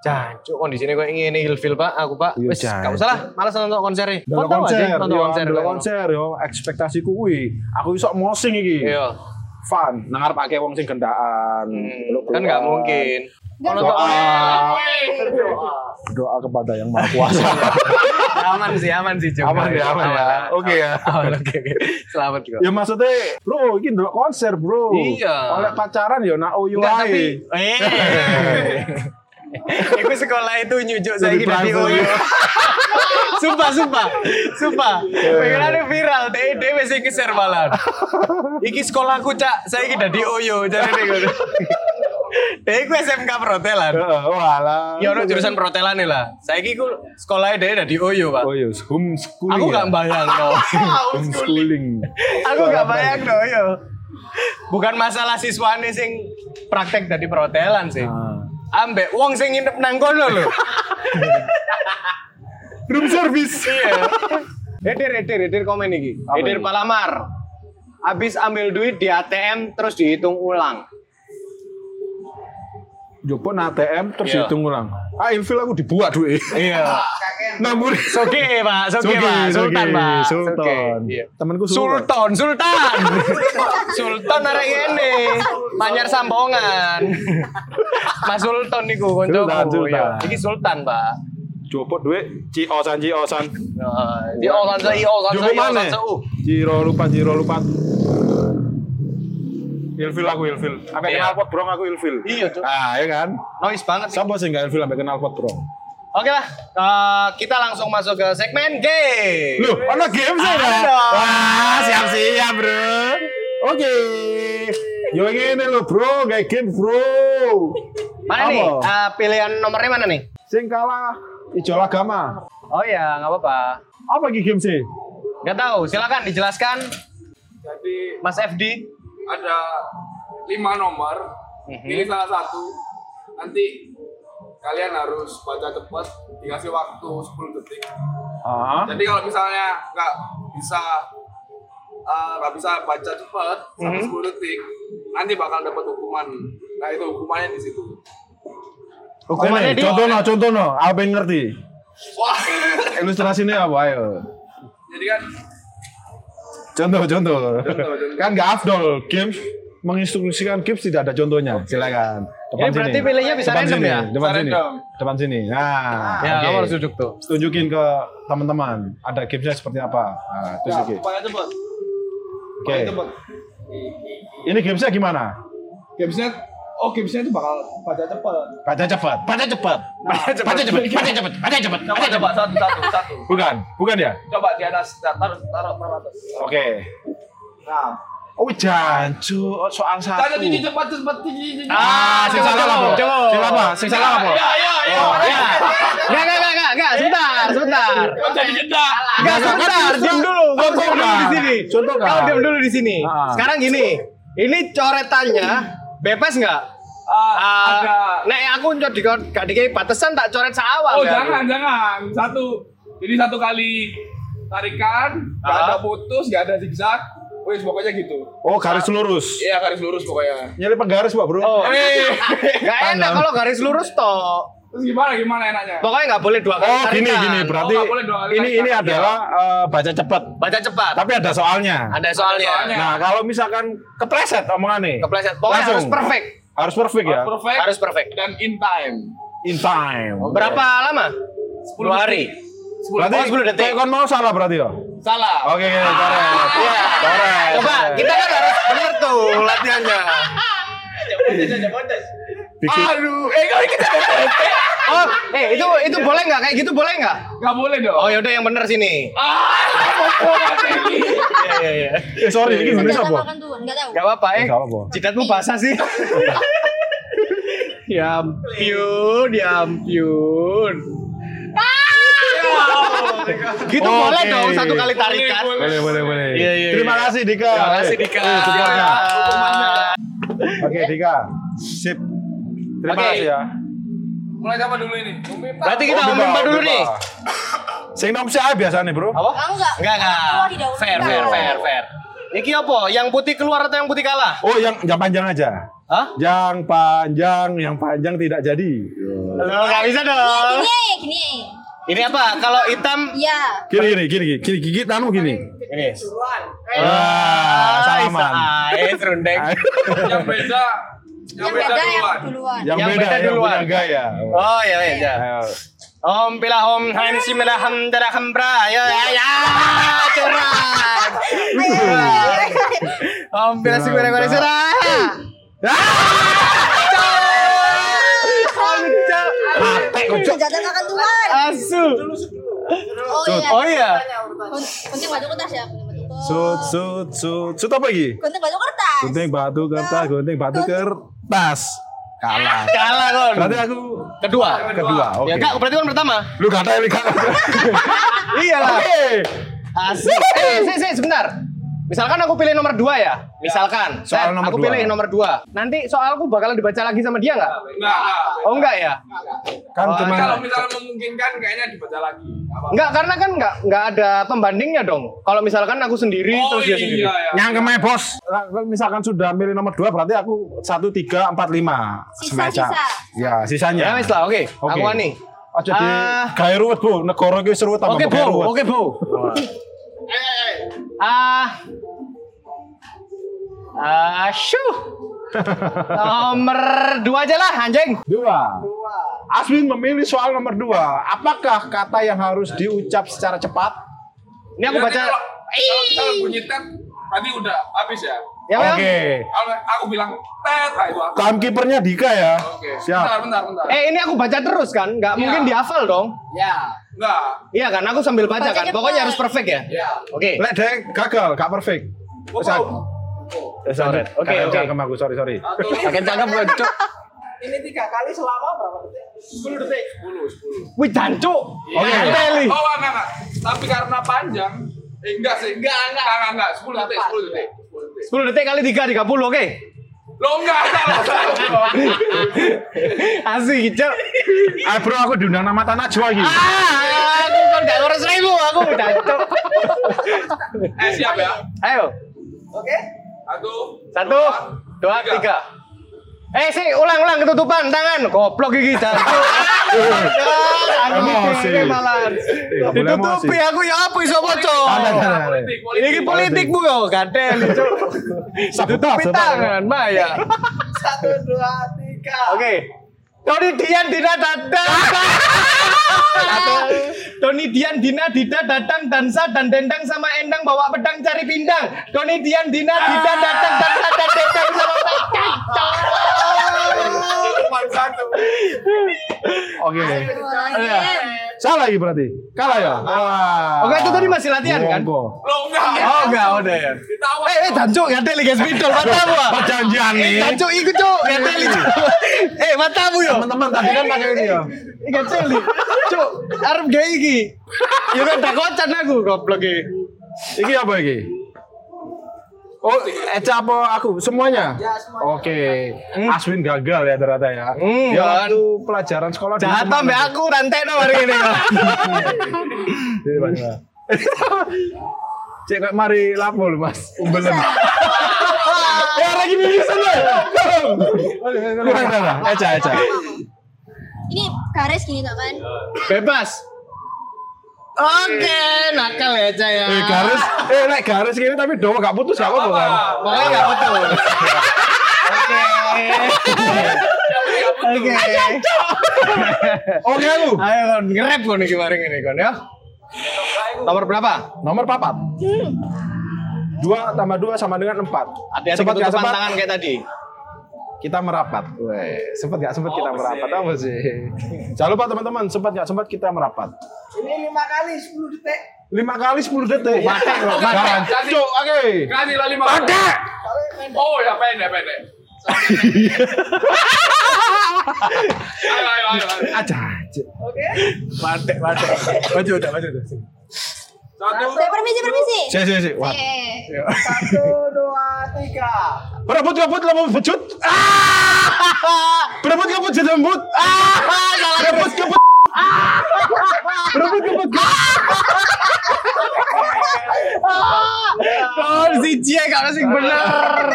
Jancuk kondisinya koyo ngene ilfil pak, aku pak. Iya, Wes, jancuk. gak usah lah, males nonton konser e. Delok konser, nonton yo, konser. delok koyo ngono. konser yo, ekspektasiku kuwi. Aku iso mosing iki. Iya. Fun, nang arep akeh wong sing gendaan. Hmm, peluk-pelukan. Kan nggak mungkin. Enggak Kalau ada. Doa kepada yang maha kuasa. aman sih, aman sih <laughs> cuma. aman ya, aman ya. Oke ya. Aman, Oke, oke. Selamat juga. Ya maksudnya, bro, ini delok konser, bro. Iya. Oleh pacaran ya nak oyu Enggak tapi <laughs> ae. eh. Iya. <laughs> Iku sekolah itu nyujuk saya Jadi kira di transfer. Oyo. <laughs> sumpah, sumpah, sumpah. Pengenane viral, deh dhewe sing ngeser malah. Iki sekolahku cak, saya kira di Oyo, jadi ngono. <laughs> Deh iku SMK perhotelan. Heeh, Eh, walah. Ya ono jurusan perhotelan nih lah. Saya kira sekolahnya dhewe udah di Oyo, Pak. Oh yes, homeschooling. Aku gak ya? bayang <laughs> homeschooling. Aku gak bayang dong, yo. Bukan masalah siswane sing praktek dari perhotelan sih. Ah. Ambek wong sing nginep nang kono lho. Room service. Iya. Edir, edir, edir komen iki. Edir ini? Palamar. Habis ambil duit di ATM terus dihitung ulang. Jopon ATM terus Iya. dihitung ulang. Ah, ilfil aku dibuat duit. Iya. Namun Soge, Pak. Soge, Soge, Pak. Sultan, Soge, Pak. Sultan. Soge, iya. Temanku Sultan. Sultan, Sultan. Sultan arek ngene. Manyar sambongan. Mas Sultan niku koncoku. Sultan, Sultan. iya. Iki Sultan, Pak. Jopon duit ciosan ciosan. Nah, Di kan osan saya, osan Jopon saya, mana? osan saya. Ciro lupa, ciro lupa. Ilfil aku ilfil. Sampai Iya. kenal pot brong aku ilfil. Iya, Cuk. Ah, ya kan? Noise banget sih. Sampai sih nggak ilfil sampai kenal pot brong. Oke lah, eh, kita langsung masuk ke segmen game. Loh, ada game sih Iya. ada. Ada. Wah, siap-siap, Bro. Oke. Yo ngene lho, Bro, kayak game, Bro. Mana nih? Apa? Eh, pilihan nomornya mana nih? Sing kalah ijo agama. Oh ya, nggak apa-apa. Apa iki game sih? Nggak tahu. Silakan dijelaskan. Mas FD. ada lima nomor Mhm. pilih salah satu nanti kalian harus baca cepat dikasih waktu 10 detik Ah. jadi kalau misalnya nggak bisa eh, nggak bisa baca cepat sampai Mhm. 10 detik nanti bakal dapat hukuman nah itu hukumannya di situ Ini, Hukumannya di. contoh no, contoh no. Apa yang ngerti? wah <laughs> Ilustrasinya apa? Ayo. jadi kan Contoh, contoh. contoh. kan nggak afdol. Games menginstruksikan games tidak ada contohnya. Silakan. Ini berarti pilihnya bisa depan random sini. ya? Depan Bisa sini. random. Depan sini. Nah, Ya, oke. kamu harus duduk tuh. tunjukin ke teman-teman ada gamesnya seperti apa. Nah, terus oke. baca cepat Oke. Ini gamesnya gimana? gamesnya oh gamesnya itu bakal baca cepat Baca cepat, baca cepat, baca cepat, baca cepat, baca cepat, coba coba satu satu satu Bukan, bukan ya? coba di atas taruh taruh taruh atas Oke. nah Oh jancu soal Tanya satu. tinggi cepat cepat tinggi tinggi. Ah, Sing salah apa? Coba, coba. Sing apa? Sing salah apa? Ya ya ya. Ya. Nggak, nggak, nggak, nggak, nggak. Sebentar, sebentar. Kok jadi jeda? Enggak, sebentar, diam dulu. Kau Contoh diam dulu kan? di sini. Contoh kan? Kau diam dulu di sini. Ah. Sekarang gini, ini coretannya bebas nggak? Ah, Ah, ada. Nek aku nyot di gak dikei batasan tak coret seawal. Oh Kak. jangan jangan satu. Jadi satu kali tarikan, nggak Ah. ada putus, nggak ada zigzag. Wis pokoknya gitu. Oh garis lurus. Iya garis lurus pokoknya. Nyelip garis pak bro. Oh. <laughs> Eh, Gak enak Tangan. kalau garis lurus toh. terus gimana gimana enaknya? Pokoknya nggak boleh dua kali. kan. Oh gini tarikan. gini berarti Oh, nggak boleh dua kali ini ini kan. tarikan. adalah eh, baca cepat. Baca cepat. Tapi ada soalnya. Ada soalnya. Ada soalnya. Nah kalau misalkan kepleset omongannya. Kepleset. Pokoknya harus perfect. Harus perfect ya. Perfect. Harus perfect. Oh, Dan in time. In time. Berapa lama? 10 detik. hari. Sepuluh Berarti Oh, 10 detik. kayak kon mau salah berarti ya. Salah. Oke, oke, coret. Iya. Coret. Coba kita kan harus bener tuh latihannya. Aduh, eh kau kita Oh, eh itu itu boleh nggak kayak gitu boleh nggak? nggak boleh dong. Oh yaudah yang bener sini. Ah, mau ini. Iya iya iya. Eh sorry, ini gimana Enggak tahu apa? makan Tuhan, enggak tahu. Gak apa-apa eh. Gak apa-apa. Jidatmu basah sih. <laughs> ya ampun, ya ampun. gitu Oke. boleh dong satu kali tarikan. Boleh, Boleh, boleh, boleh. Iya, iya, Terima iya. kasih Dika. Terima kasih Dika. Eh, Dika. Ah. Oke, Dika. Sip. Terima Oke. kasih ya. Mulai siapa dulu ini? Mimpa. Berarti kita omongin Mbak dulu nih. Sing nom siapa biasanya, Bro? Apa? Ah, enggak. Enggak, Keluar enggak. didahulukan. Fair, fair, fair, fair. Iki apa? Yang putih keluar atau yang putih kalah? Oh, yang yang panjang aja. Hah? Yang panjang, yang panjang tidak jadi. Loh, nggak bisa dong. Gini ya, gini ya. Ini apa? Kalau hitam Iya. Gini gini gini gini gini gigit anu gini. ini. Ah, Wah, <laughs> salaman. Eh, serundeng. Yang beda. Yang, Yang beda yang duluan. duluan. Yang, Yang beda, beda yang duluan. punya gaya. Oh, ya ya. ya. Ayo. Om pila om han si mela ham dara ham bra ya ya ya curang. Om pila si mela mela curang. Patek kocok. Jatah akan tuan. Asu. Oh iya. Oh iya. Gunting batu kertas ya. gunting batu kertas. Sut sut sut. Sut apa lagi? Gunting batu kertas. Gunting batu kertas, gunting batu kertas. Kalah. Kalah kon. Berarti aku Kedua. kedua. Oke. Ya kak, berarti kon pertama. Lu kata ini kata. Iyalah. Oke. Asu. Eh, sih, sih, sebentar. Misalkan aku pilih nomor dua ya. Misalkan. Soal Nah, nomor aku dua. pilih nomor dua. Nanti soalku bakalan dibaca lagi sama dia nggak? Enggak. Oh enggak ya? Kan Oh, cuma Kalau misalnya memungkinkan kayaknya dibaca lagi. Nggak apa-apa. Enggak, karena kan enggak enggak ada pembandingnya dong. Kalau misalkan aku sendiri terus dia sendiri. iya, iya. yang kemai bos. Nah, kalau Misalkan sudah milih nomor dua berarti aku satu tiga empat lima. Sisa, Semacam. sisa. Ya sisanya. Ya wis lah, oke. Oke. Aku wani. Aja di Ah. gawe ruwet, Bu. Negara iki seru tambah Oke, Bu. gawe ruwet. Oke, Bu. Ah. <laughs> Ah, syuh. Nomor dua aja lah, anjing. Dua. Aswin memilih soal nomor dua. Apakah kata yang harus diucap secara cepat? Ini aku Jadi baca. Iya, kalau- Kalau misalnya bunyi tet, tadi udah habis ya. Ya, Bang? Oke. Kalau aku bilang tet, ah, itu aku. Timekeepernya Dika ya. Oke. Bentar, Siap. bentar, bentar. Ya. Eh, ini aku baca terus kan? Enggak mungkin dihafal dong. Enggak. Iya kan, aku sambil baca Baca kan. cepat. Pokoknya harus perfect ya. Ya. Oke. Lek dek gagal, gak perfect. Wow. Bisa- Eh, sorry. Oke, oke. Gagal cangkem aku, sorry sorry. Satu, <laughs> Makin cakep gue, Cuk. Ini tiga kali selama berapa detik? 10 detik. sepuluh, sepuluh. Wih, jancuk. Oke. Teli. Oh, enggak, enggak, enggak. Tapi karena panjang, eh, enggak sih. Enggak, enggak. Enggak, enggak. Sepuluh detik, sepuluh detik. 10 detik. 10 detik kali 3 30 oke. <laughs> Lo enggak salah. salah. Asik, Cuk. Ah bro, aku diundang nama tanah Jawa iki. Ah, aku kan gak ngurus ribu, aku udah cok. Eh, siap ya. <laughs> Ayo, Oke? Satu. satu, dua, Tiga. tiga. Eh sih, ulang-ulang ketutupan tangan. Goblok gigi <laughs> jancuk. Emosi. Iya, boleh Ditutupi emosi. aku ya apa iso maca. Tangan, tangan, tangan. Politik, politik. Ini politikmu kau gaten cuk. Ditutupi Sabotase, Pak. tangan, Maya. <laughs> Satu, dua, tiga. Oke. Tony Dian Dina Dadang. Tony Dian Dina Dida Dadang Dansa dan Dendang sama Endang bawa pedang cari pindang. Tony Dian Dina Dida Dadang Dansa dan Dendang sama Pedang. Cuma satu. Oke. Iya. Salah lagi berarti. Kalah ya. Wah. Oke, itu tadi masih latihan, kan? Monggo. Lo enggak. Oh enggak, udah ya. Ditawar. Eh, eh, Danco, ngantel liga spidol, matamu ah. Perjanjian nih. Danco, iku cok, ngantel Cuk. Eh, matamu yo. Teman-teman tadi kan pakai ini ya. Iga celi. Cuk, arep gawe iki. Ya kan tak kocan aku goblok iki. Iki apa iki? Oh, Eca apa aku? Semuanya? Ya, semuanya. Oke. Aswin gagal ya ternyata ya. Hmm, ya kan. waktu pelajaran sekolah dulu Jahat teman- mbak aku rantekno hari ini. Jadi, Mas. Iya, <laughs> Cek kok mari lapo lu Mas. Umbelan. <laughs> ya lagi bisa lu. Kurang salah. Eca Eca. Ini garis gini tak kan? Bebas. Oke, nakal ya Caya. Eh garis, eh nek garis gini tapi doa gak putus gak apa-apa kan? Pokoknya nggak <laughs> betul. Oke. Oke. Oke aku. Ayo kon ngerep kon iki bareng ini kon ya. Nomor berapa? Nomor papat. Dua tambah dua sama dengan empat. Hati-hati Sempat nggak ketutupan sempat? tangan kayak tadi. kita merapat. Weh, sempat nggak sempat kita merapat apa Oh, sih? Jangan lupa teman-teman, sempat nggak sempat kita merapat. Ini lima kali, 10 detik. Lima kali 10 detik. Mate, kok. Jangan. Cuk, oke. Kasih lah lima. Ada. Oh ya pendek pendek. ayo ayo ayo. ayo. Aja. aja. Oke? Mate, mate. Maju udah, maju udah. Satu. Saya permisi, permisi. Si si si. Wah. Iya. Satu, dua, tiga. Berebut-rebut lembut bejut. Ah! Berebut-rebut jadi lembut. Ah! Berebut-rebut. Berebut-rebut. Kalau Oh, si Cie kalau sih bener.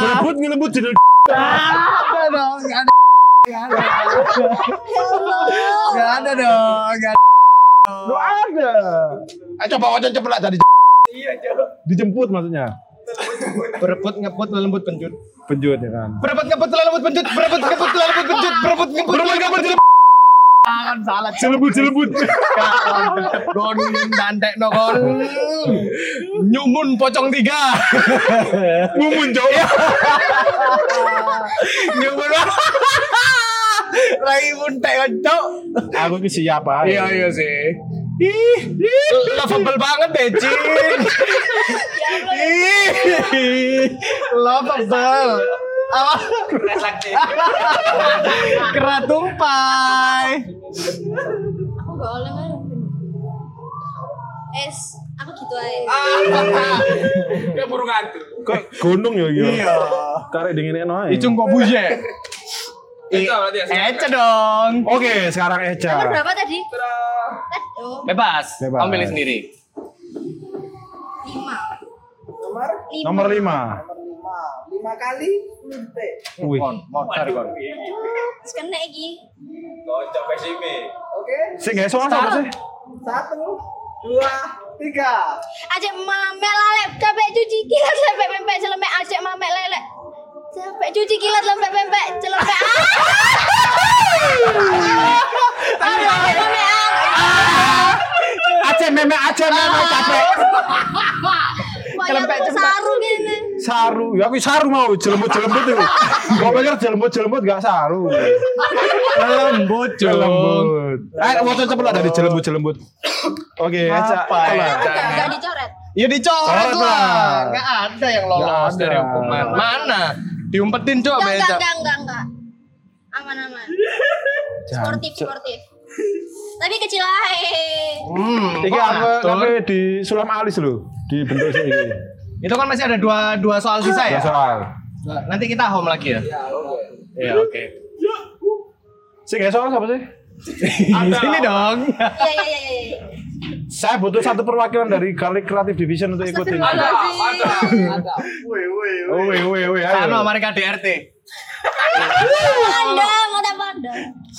Berebut ngelembut jadi Ada dong, nggak ada. Gak ada dong, gak ada. Lu ada. Ayo Ah! Eh, coba wajan cepet dari dijemput maksudnya. Berebut ngeput lembut penjut. Penjut ya kan. Berebut ngeput lembut penjut. Berebut ngeput lembut penjut. Berebut ngeput. Berebut ngeput Kan salah. Celebut celebut. Gon dandek no gon. Nyumun pocong tiga. Mumun jauh. Nyumun. Rai pun tak kocok. Aku ini siapa? Iya iya sih. Ih, lovable banget deh, Cin. Ih, lovable. Apa? Keratung pai. Aku gak oleh kan. Es, aku gitu aja. Ah. Kayak burung hantu. Kok gunung ya iya. Karek dingin ae. Icung kok buje. Itu berarti ya. Ece dong. Oke, sekarang Eca. Nomor berapa tadi? Tadi oh, Bebas. Bebas. Kamu pilih sendiri. lima. Nomor Lima. Nomor 5. nomor lima. Lima kali kulite. Wih. Terus kena iki. Kocok pesimi. Oke. Sing gak soal apa sih? Satu, dua, tiga. Ajak mamek lalek capek cuci kilat lempek pempek celemek ajak mamek lelek. Capek cuci kilat lempek pempek Ah! celemek. Ayo, Aceh meme Aceh meme capek. Kelempek iya, sarung ini. Saru, ya aku saru mau jelembut-jelembut itu. Kok pikir jelembut-jelembut gak saru. Lembut, Jelembut. Eh, waktu cepet lah dari jelembut-jelembut. Oke, Eca. Apa ya? tolak. Gak gak dicoret. Ya dicoret Coret lah. lah. Gak ada yang lolos Nggak ada. dari hukuman. Mana? Diumpetin coba Enggak, Beca. enggak, enggak, enggak, enggak. Aman, aman. Sportif, sportif. Tapi kecil aja. Hmm, Iki kok aku ngatur? tapi di sulam alis lho, di bentuk <laughs> sih ini. Itu kan masih ada dua dua soal sisa Gak ya. soal. Nanti kita home lagi ya. Iya, oke. Sing gak soal siapa sih? Sini dong. Iya, iya, iya, iya. Saya butuh satu perwakilan dari Garlic Creative Division untuk ikut ini. Astagfirullahaladzim. Woi, woi, woi, ayo. Sano mereka DRT. Panda, mau tak panda.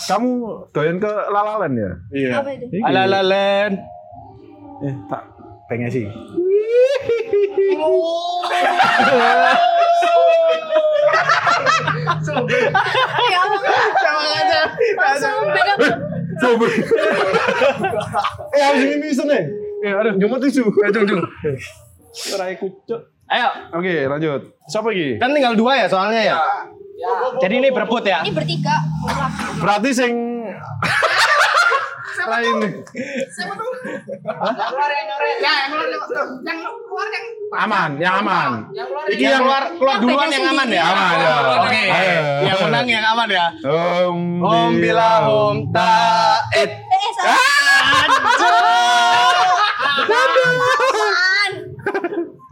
Kamu doyan ke lalalan ya? Iya. Apa itu? Iki. Ala lalen. Eh, tak pengen sih. Ya Allah, langsung beda. Coba. Eh, harus ini bisa nih. Ya, aduh, cuma tujuh. Eh, cung, cung. Serai kucuk. Ayo, Oke, lanjut. Siapa lagi? kan tinggal dua ya soalnya ya. Jadi ini berebut ya. Ini bertiga. Murah. Berarti sing lain nih. Yang keluar yang nyoret. Ya, yang keluar yang yang keluar yang Aman, yang aman. yang keluar Iki yang keluar keluar duluan yang aman ya. Aman, ya. Oke. Ayo. Yang menang yang aman ya. Om Om bila om taet. Eh, eh, salah. Ah! Apaan?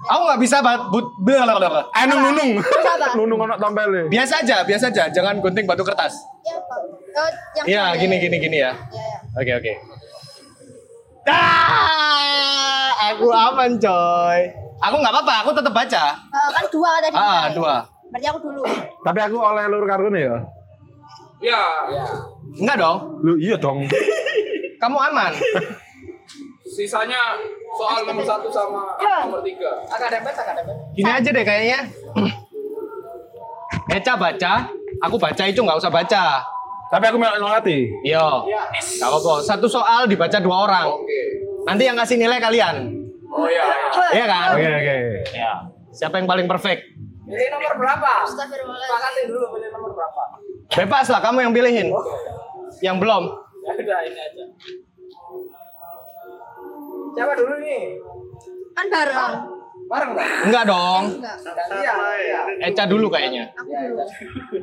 Aku nggak bisa bat- but blablabla. Eh, nung nunung. Sabar. Nunung ono tompel Biasa aja, biasa aja. Jangan gunting batu kertas. Ya, Pak. Oh, yang Iya, kiri. gini gini gini ya. Ya, ya. Oke oke. Ah, aku aman coy. Aku nggak apa-apa, aku tetap baca. Eh, kan dua tadi. Ah, dua. Berarti aku dulu. Tapi aku oleh lur karun ya. Ya. Enggak dong, Lu iya dong. kamu aman. Sisanya soal nomor satu sama nomor tiga. Agak dempet, agak dempet. Gini aja deh kayaknya. Eca Eh, baca, aku baca itu nggak usah baca. Tapi aku melok nolati. Yo, nggak apa-apa. Satu soal dibaca dua orang. Nanti yang kasih nilai kalian, Oh ya. ya. iya kan? Oke, oke. Ya. Siapa yang paling perfect? Pilih nomor berapa? Astagfirullahaladzim. Sepakatin dulu pilih nomor berapa. Bebas lah, kamu yang pilihin. Yang belum. Ya udah ini aja. Siapa dulu nih? Kan bareng. Bareng tak? Enggak dong. Enggak. Iya, iya. Eca dulu kayaknya. Aku dulu.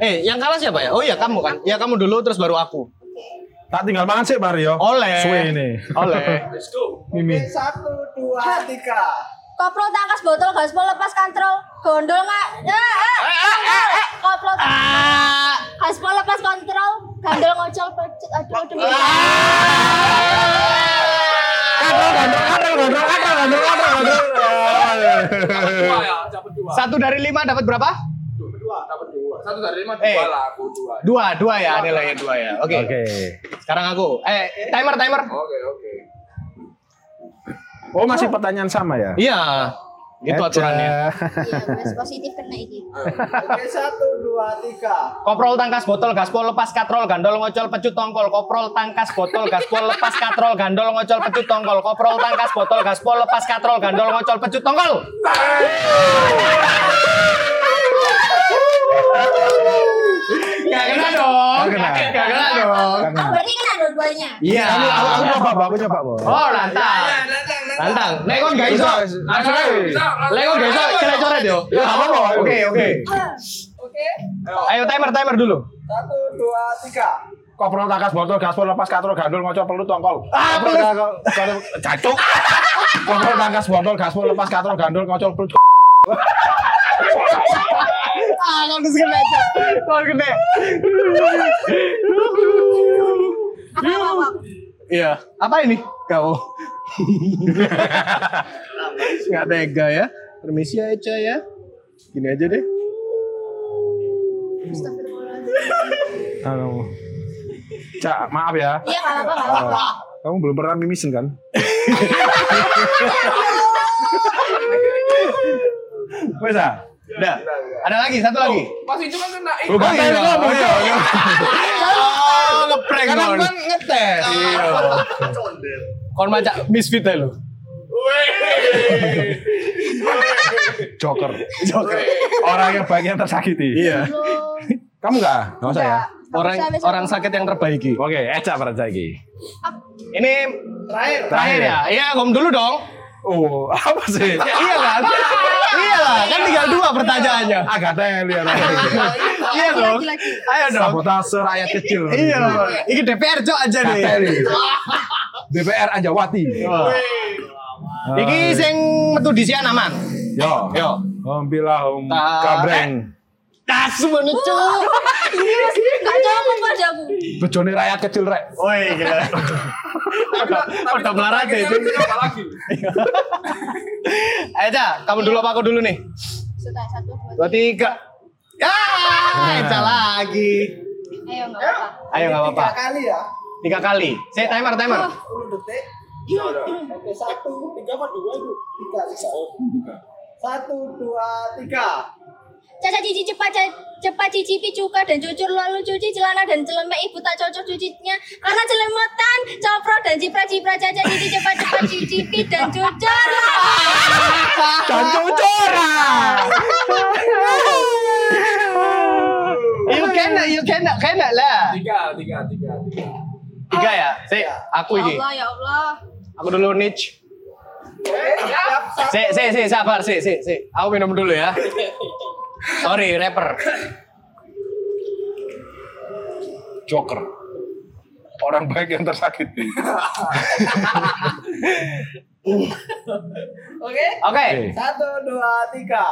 Eh, yang kalah siapa ya? Oh iya, kamu kan. Ya kamu dulu terus baru aku. Oke. Tak tinggal mangan sih, Mario. Oleh. Oh. Suwe ini. Oleh. Oke, satu, dua, tiga. Koplo tangkas botol gaspol lepas kontrol gondol nggak eh, eh, eh, koplo Ah. gaspol lepas kontrol gondol ngocol pecut aduh aduh Ah. Ah! Dua ya, dapat dua. Satu dari lima dapat berapa? Dua, dapat dua. Satu dari lima Eh. dua lah aku dua. Dua, dua ya nilainya dua ya. Oke. Oke. Sekarang aku. Eh, timer, timer. Oke, oke. Oh masih pertanyaan sama ya? Iya. Itu aturannya. iya mas positif kena ini Oh. Oke, satu, dua, tiga. Koprol tangkas botol gaspol lepas katrol gandol ngocol pecut tongkol. Koprol tangkas botol gaspol lepas katrol gandol ngocol pecut tongkol. Koprol tangkas botol gaspol lepas katrol gandol ngocol pecut tongkol. Gak kena dong. Gak kena. Gak kena dong. oh berarti kena dua-duanya Iya. Aku aku coba, Bo. aku coba, Bo. Oh, lantang. Lantang. Nek kon gak iso. Langsung ae. Nek kon gak iso coret-coret yo. Ya, nggak apa-apa. iya. Oke, oke. Oke, Ayo timer timer dulu. satu, dua, tiga. Koprol takas botol gaspol lepas katrol gandul ngocok pelut tongkol. Ah, Koprol pelut. takas- koprol cacuk. Koprol takas botol gaspol lepas katrol gandul ngocok pelut. Ah, kon kena. Kon kena. apa apa, apa Iya. Apa ini? Kau. Enggak tega ya. Permisi ya Eca ya. Gini aja deh. Halo. Cak, maaf ya. iya nggak apa-apa nggak apa-apa Ah. Kamu belum pernah mimisin kan? <laughs> Wes ah. Udah. Ada lagi satu lagi. Masih cuma kena Lu kan tadi ngomong ya. Oh, ngeprank Karena kan ngetes. Iya. Kon maca misfit ae lu. Joker. Joker. Orang yang bagian tersakiti. Iya. Kamu enggak? ah? Enggak usah ya. Orang orang sakit yang terbaiki. Oke, Eca pada lagi. Ini terakhir, terakhir ya. Iya, kom dulu dong. Oh, apa <laughs> sih? iya kan? iya lah, kan tinggal dua pertanyaannya. Agak ya, lihat. Iya dong. lagi lagi Ayo dong. Sabotase rakyat kecil. Iya dong. Ini DPR cok aja nih. <laughs> Kateri. DPR Anjawati. Iki sing metu disian aman. Yo. Yo. Hombilah hom Ta- kabreng. Tas menit cok. nggak cocok padamu Bejone rakyat kecil rek. Woi, gila. Udah- Udah melarat ya. Cok. apa lagi? Ayo, Cak, kamu dulu apa aku dulu nih? sudah satu Dua dua tiga tiga. Ah, Eca lagi. ayo nggak apa-apa Ayo nggak apa-apa. Tiga kali ya. Tiga kali. Saya timer timer. Oh. 10 detik. Oke, satu, tiga apa dua itu? Tiga, tiga. Satu, dua, tiga. Caca cici cepat ca- cepat cicipi cuka dan cucur lalu cuci celana dan celemek ibu tak cocok cucinya karena celemetan copro dan cipra cipra caca cici cepat cepat cicipi dan cucur Dan cucuran. You can, you can, can Oh. lah. Tiga, tiga, tiga, tiga. Tiga ya. Si, aku ya ini. Allah ya Allah Aku dulu niche. Si, si, si, sabar, si, si, si. Aku minum dulu ya. Sorry, rapper. Joker. Orang baik yang tersakiti. Oke, Oke. Oke. satu, dua, tiga.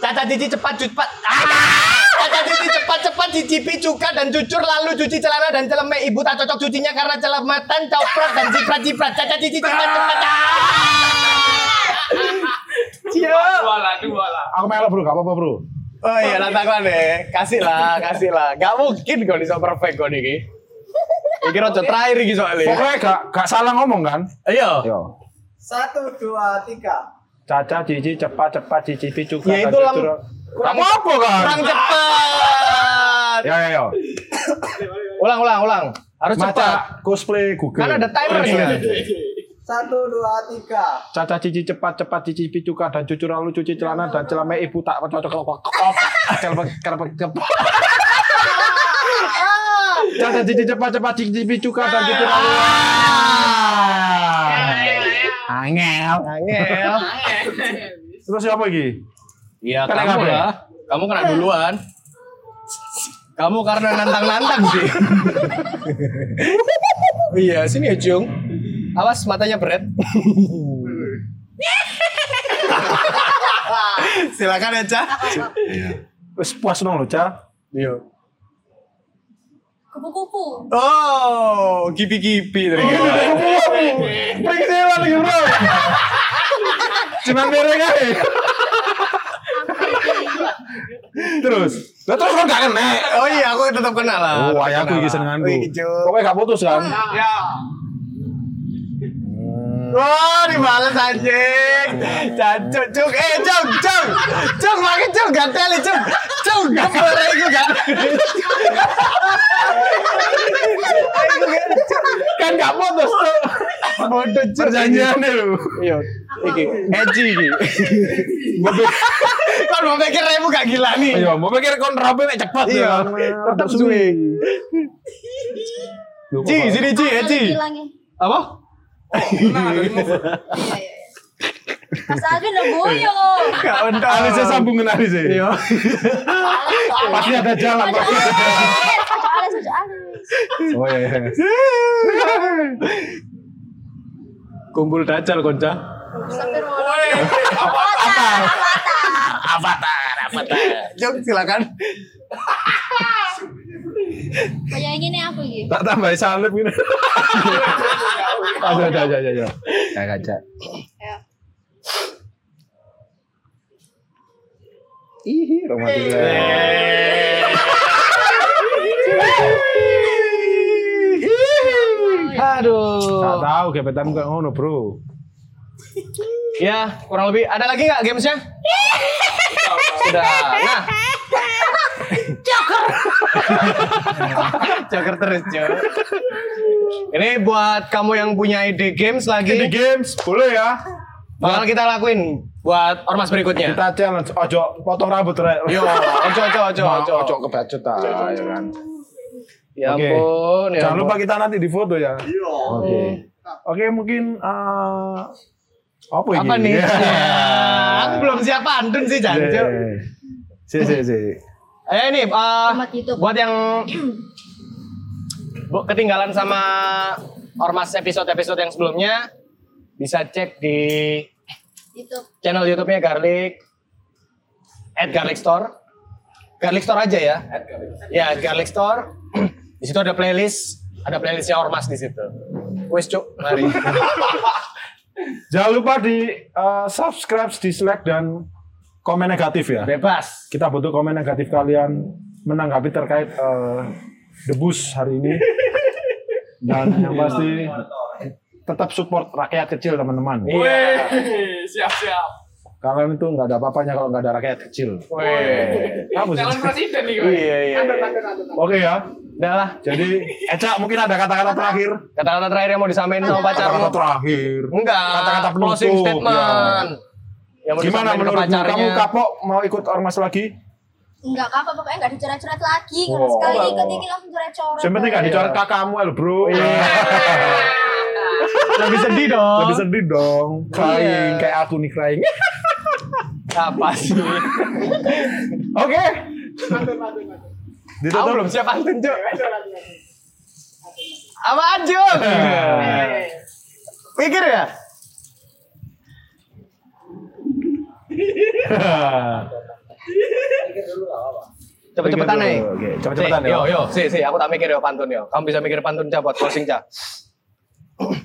Caca cici cepat cepat. Ah! Caca cici cepat cepat cicipi cuka dan cucur lalu cuci celana dan celemek ibu tak cocok cucinya karena celematan coprat dan ciprat ciprat. Caca cici cepat cepat. Ah! Dua lah, dua lah. Aku melo bro, gak apa-apa bro. Oh iya, lah taklan deh. Kasih lah, kasih lah. Gak mungkin kau bisa perfect kau niki. Iki rojo terakhir iki soalnya. Pokoknya gak, gak salah ngomong kan? Ayo. Yo. Satu, dua, tiga. Caca, cici, cepat, cepat, cici, cuka. Ya, itu lang- kurang- apa kan? Kurang cepat. Ya, ya, ya. Ulang, ulang, ulang. Harus cepat. Maca cosplay Google. Kan ada timer nih. Satu, dua, tiga. Caca cici cepat cepat cici picuka dan cucu lalu cuci celana dan celame ibu tak cocok kok kok kelbek kelbek <laughs> kelbek. Caca cici cepat cepat cici picuka dan cucu lalu. Ah. Angel. Angel. Terus siapa lagi? Iya, Kena kamu kabel. lah. Kamu kena duluan. Kamu karena nantang-nantang sih. Oh iya, sini ya, Jung. Awas matanya beret. Silakan aja. Wis puas nang lho, Ca. Iya. Kupu-kupu. Oh, kipi-kipi ternyata. Pringsilan iki, Bro. Cuman mereng ae. Terus, lah terus kok gak kena. Oh iya, aku tetap kenal lah. Oh, Tetap ayahku kenal iki lah. senenganku. Wih, cuk. Pokoknya gak putus kan. Iya. Wah, Oh, dibales anjing. Cancuk, cuk. Eh, cuk, cuk. Cuk, makin cuk. Gak teli, cuk. Cuk, gembar itu kan. Kan gak putus tuh. Bodoh, cuk. Perjanjiannya lho. Iya, iki. Eji, iki. Kan mau pikir remu gak gila nih. Iya, mau pikir kon rapi mek cepet. Iya, ya. tetap suwe. Duh, Ji, kok- sini Ji, Eji. Hilangnya. Apa? Iya, iya. Mas Alvin udah boyong. Gak untuk. Alisnya sambungin alisnya. Iya. <laughs> Pasti ada jalan. Ojo pasti. alis, ojo alis, ojo alis. Oh iya. iya. Kumpul dacal, konca. Cuk, silakan. Kayak gini aku gitu. Tak tambah salib gitu. Aja aja aja aja. Kayak kaca. Ih, romantis. Gak Aduh. tahu gebetan kayak ngono, Bro. Ya, kurang lebih. Ada lagi nggak gamesnya? Sudah. Nah. Joker. Joker terus, Joker. Ini buat kamu yang punya ide games Ini lagi, games boleh ya. bakal kita lakuin buat ormas berikutnya. Kita challenge ojo potong rambut rek. Yo, <laughs> ojo, ojo, ojo, ojo. ojo kebacut ta, ya kan. Ya Oke. ampun, ya Jangan ampun. lupa kita nanti di foto ya. Oke. Oke, mungkin eh, apa ini? Apa <laughs> nih? Iya, Ya. Ya, <laughs> Aku belum siap pantun sih, Janjo. Yeah. Si si si. Eh ini eh, Selamat hidup. buat yang bu- ketinggalan sama ormas episode-episode yang sebelumnya bisa cek di Itu. channel YouTube-nya Garlic at Garlic Store. Garlic Store aja ya. Ya, at Garlic Store. <clears throat> di situ ada playlist, ada playlistnya ormas di situ. Wes, Cuk, <laughs> mari. Jangan lupa di eh, subscribe, dislike dan komen negatif ya. Bebas. Kita butuh komen negatif kalian menanggapi terkait eh, debus hari ini. Dan yang pasti tetap support rakyat kecil teman-teman. Iya. Eh, siap-siap. Kalian itu nggak ada apa-apanya kalau nggak ada rakyat kecil. Weh. Apa sih? Calon presiden nih gue. Iya, iya. iya. Oke ya. Udah lah. Jadi Eca mungkin ada kata-kata terakhir. Kata-kata terakhir yang mau disampaikan sama pacarmu. Kata-kata terakhir. Enggak. Kata-kata penutup, Iya. Ya. Closing statement. Yang Gimana mau disampaikan ke menurut kamu pacarnya. kapok mau ikut ormas lagi? Enggak apa-apa, pokoknya enggak dicoret-coret lagi. Karena Oh. sekali ikut ini langsung coret-coret. Yang penting nggak dicoret kakakmu ya, bro. <laughs> Lebih sedih dong. Iya. Lebih sedih dong. Crying kayak aku nih crying. <laughs> Apa sih? Oke. Aku Ditutup. belum siap pantun, Cuk. Apaan, Cuk? Iya. Eh. Pikir ya? Cepet-cepetan Pikir nih. dulu, oke. Cepet-cepetan, ya. Si, yo. Yo, yo. Si, si. Aku tak mikir yo pantun yo. Kamu bisa mikir pantun, Cak, buat closing, Cak. <laughs>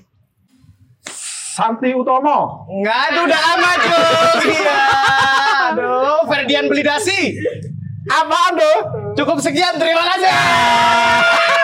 Santi Utomo. Enggak, itu udah amat, Cuk. Iya. Aduh, Ferdian beli dasi. Apaan, tuh? Cukup sekian, terima kasih.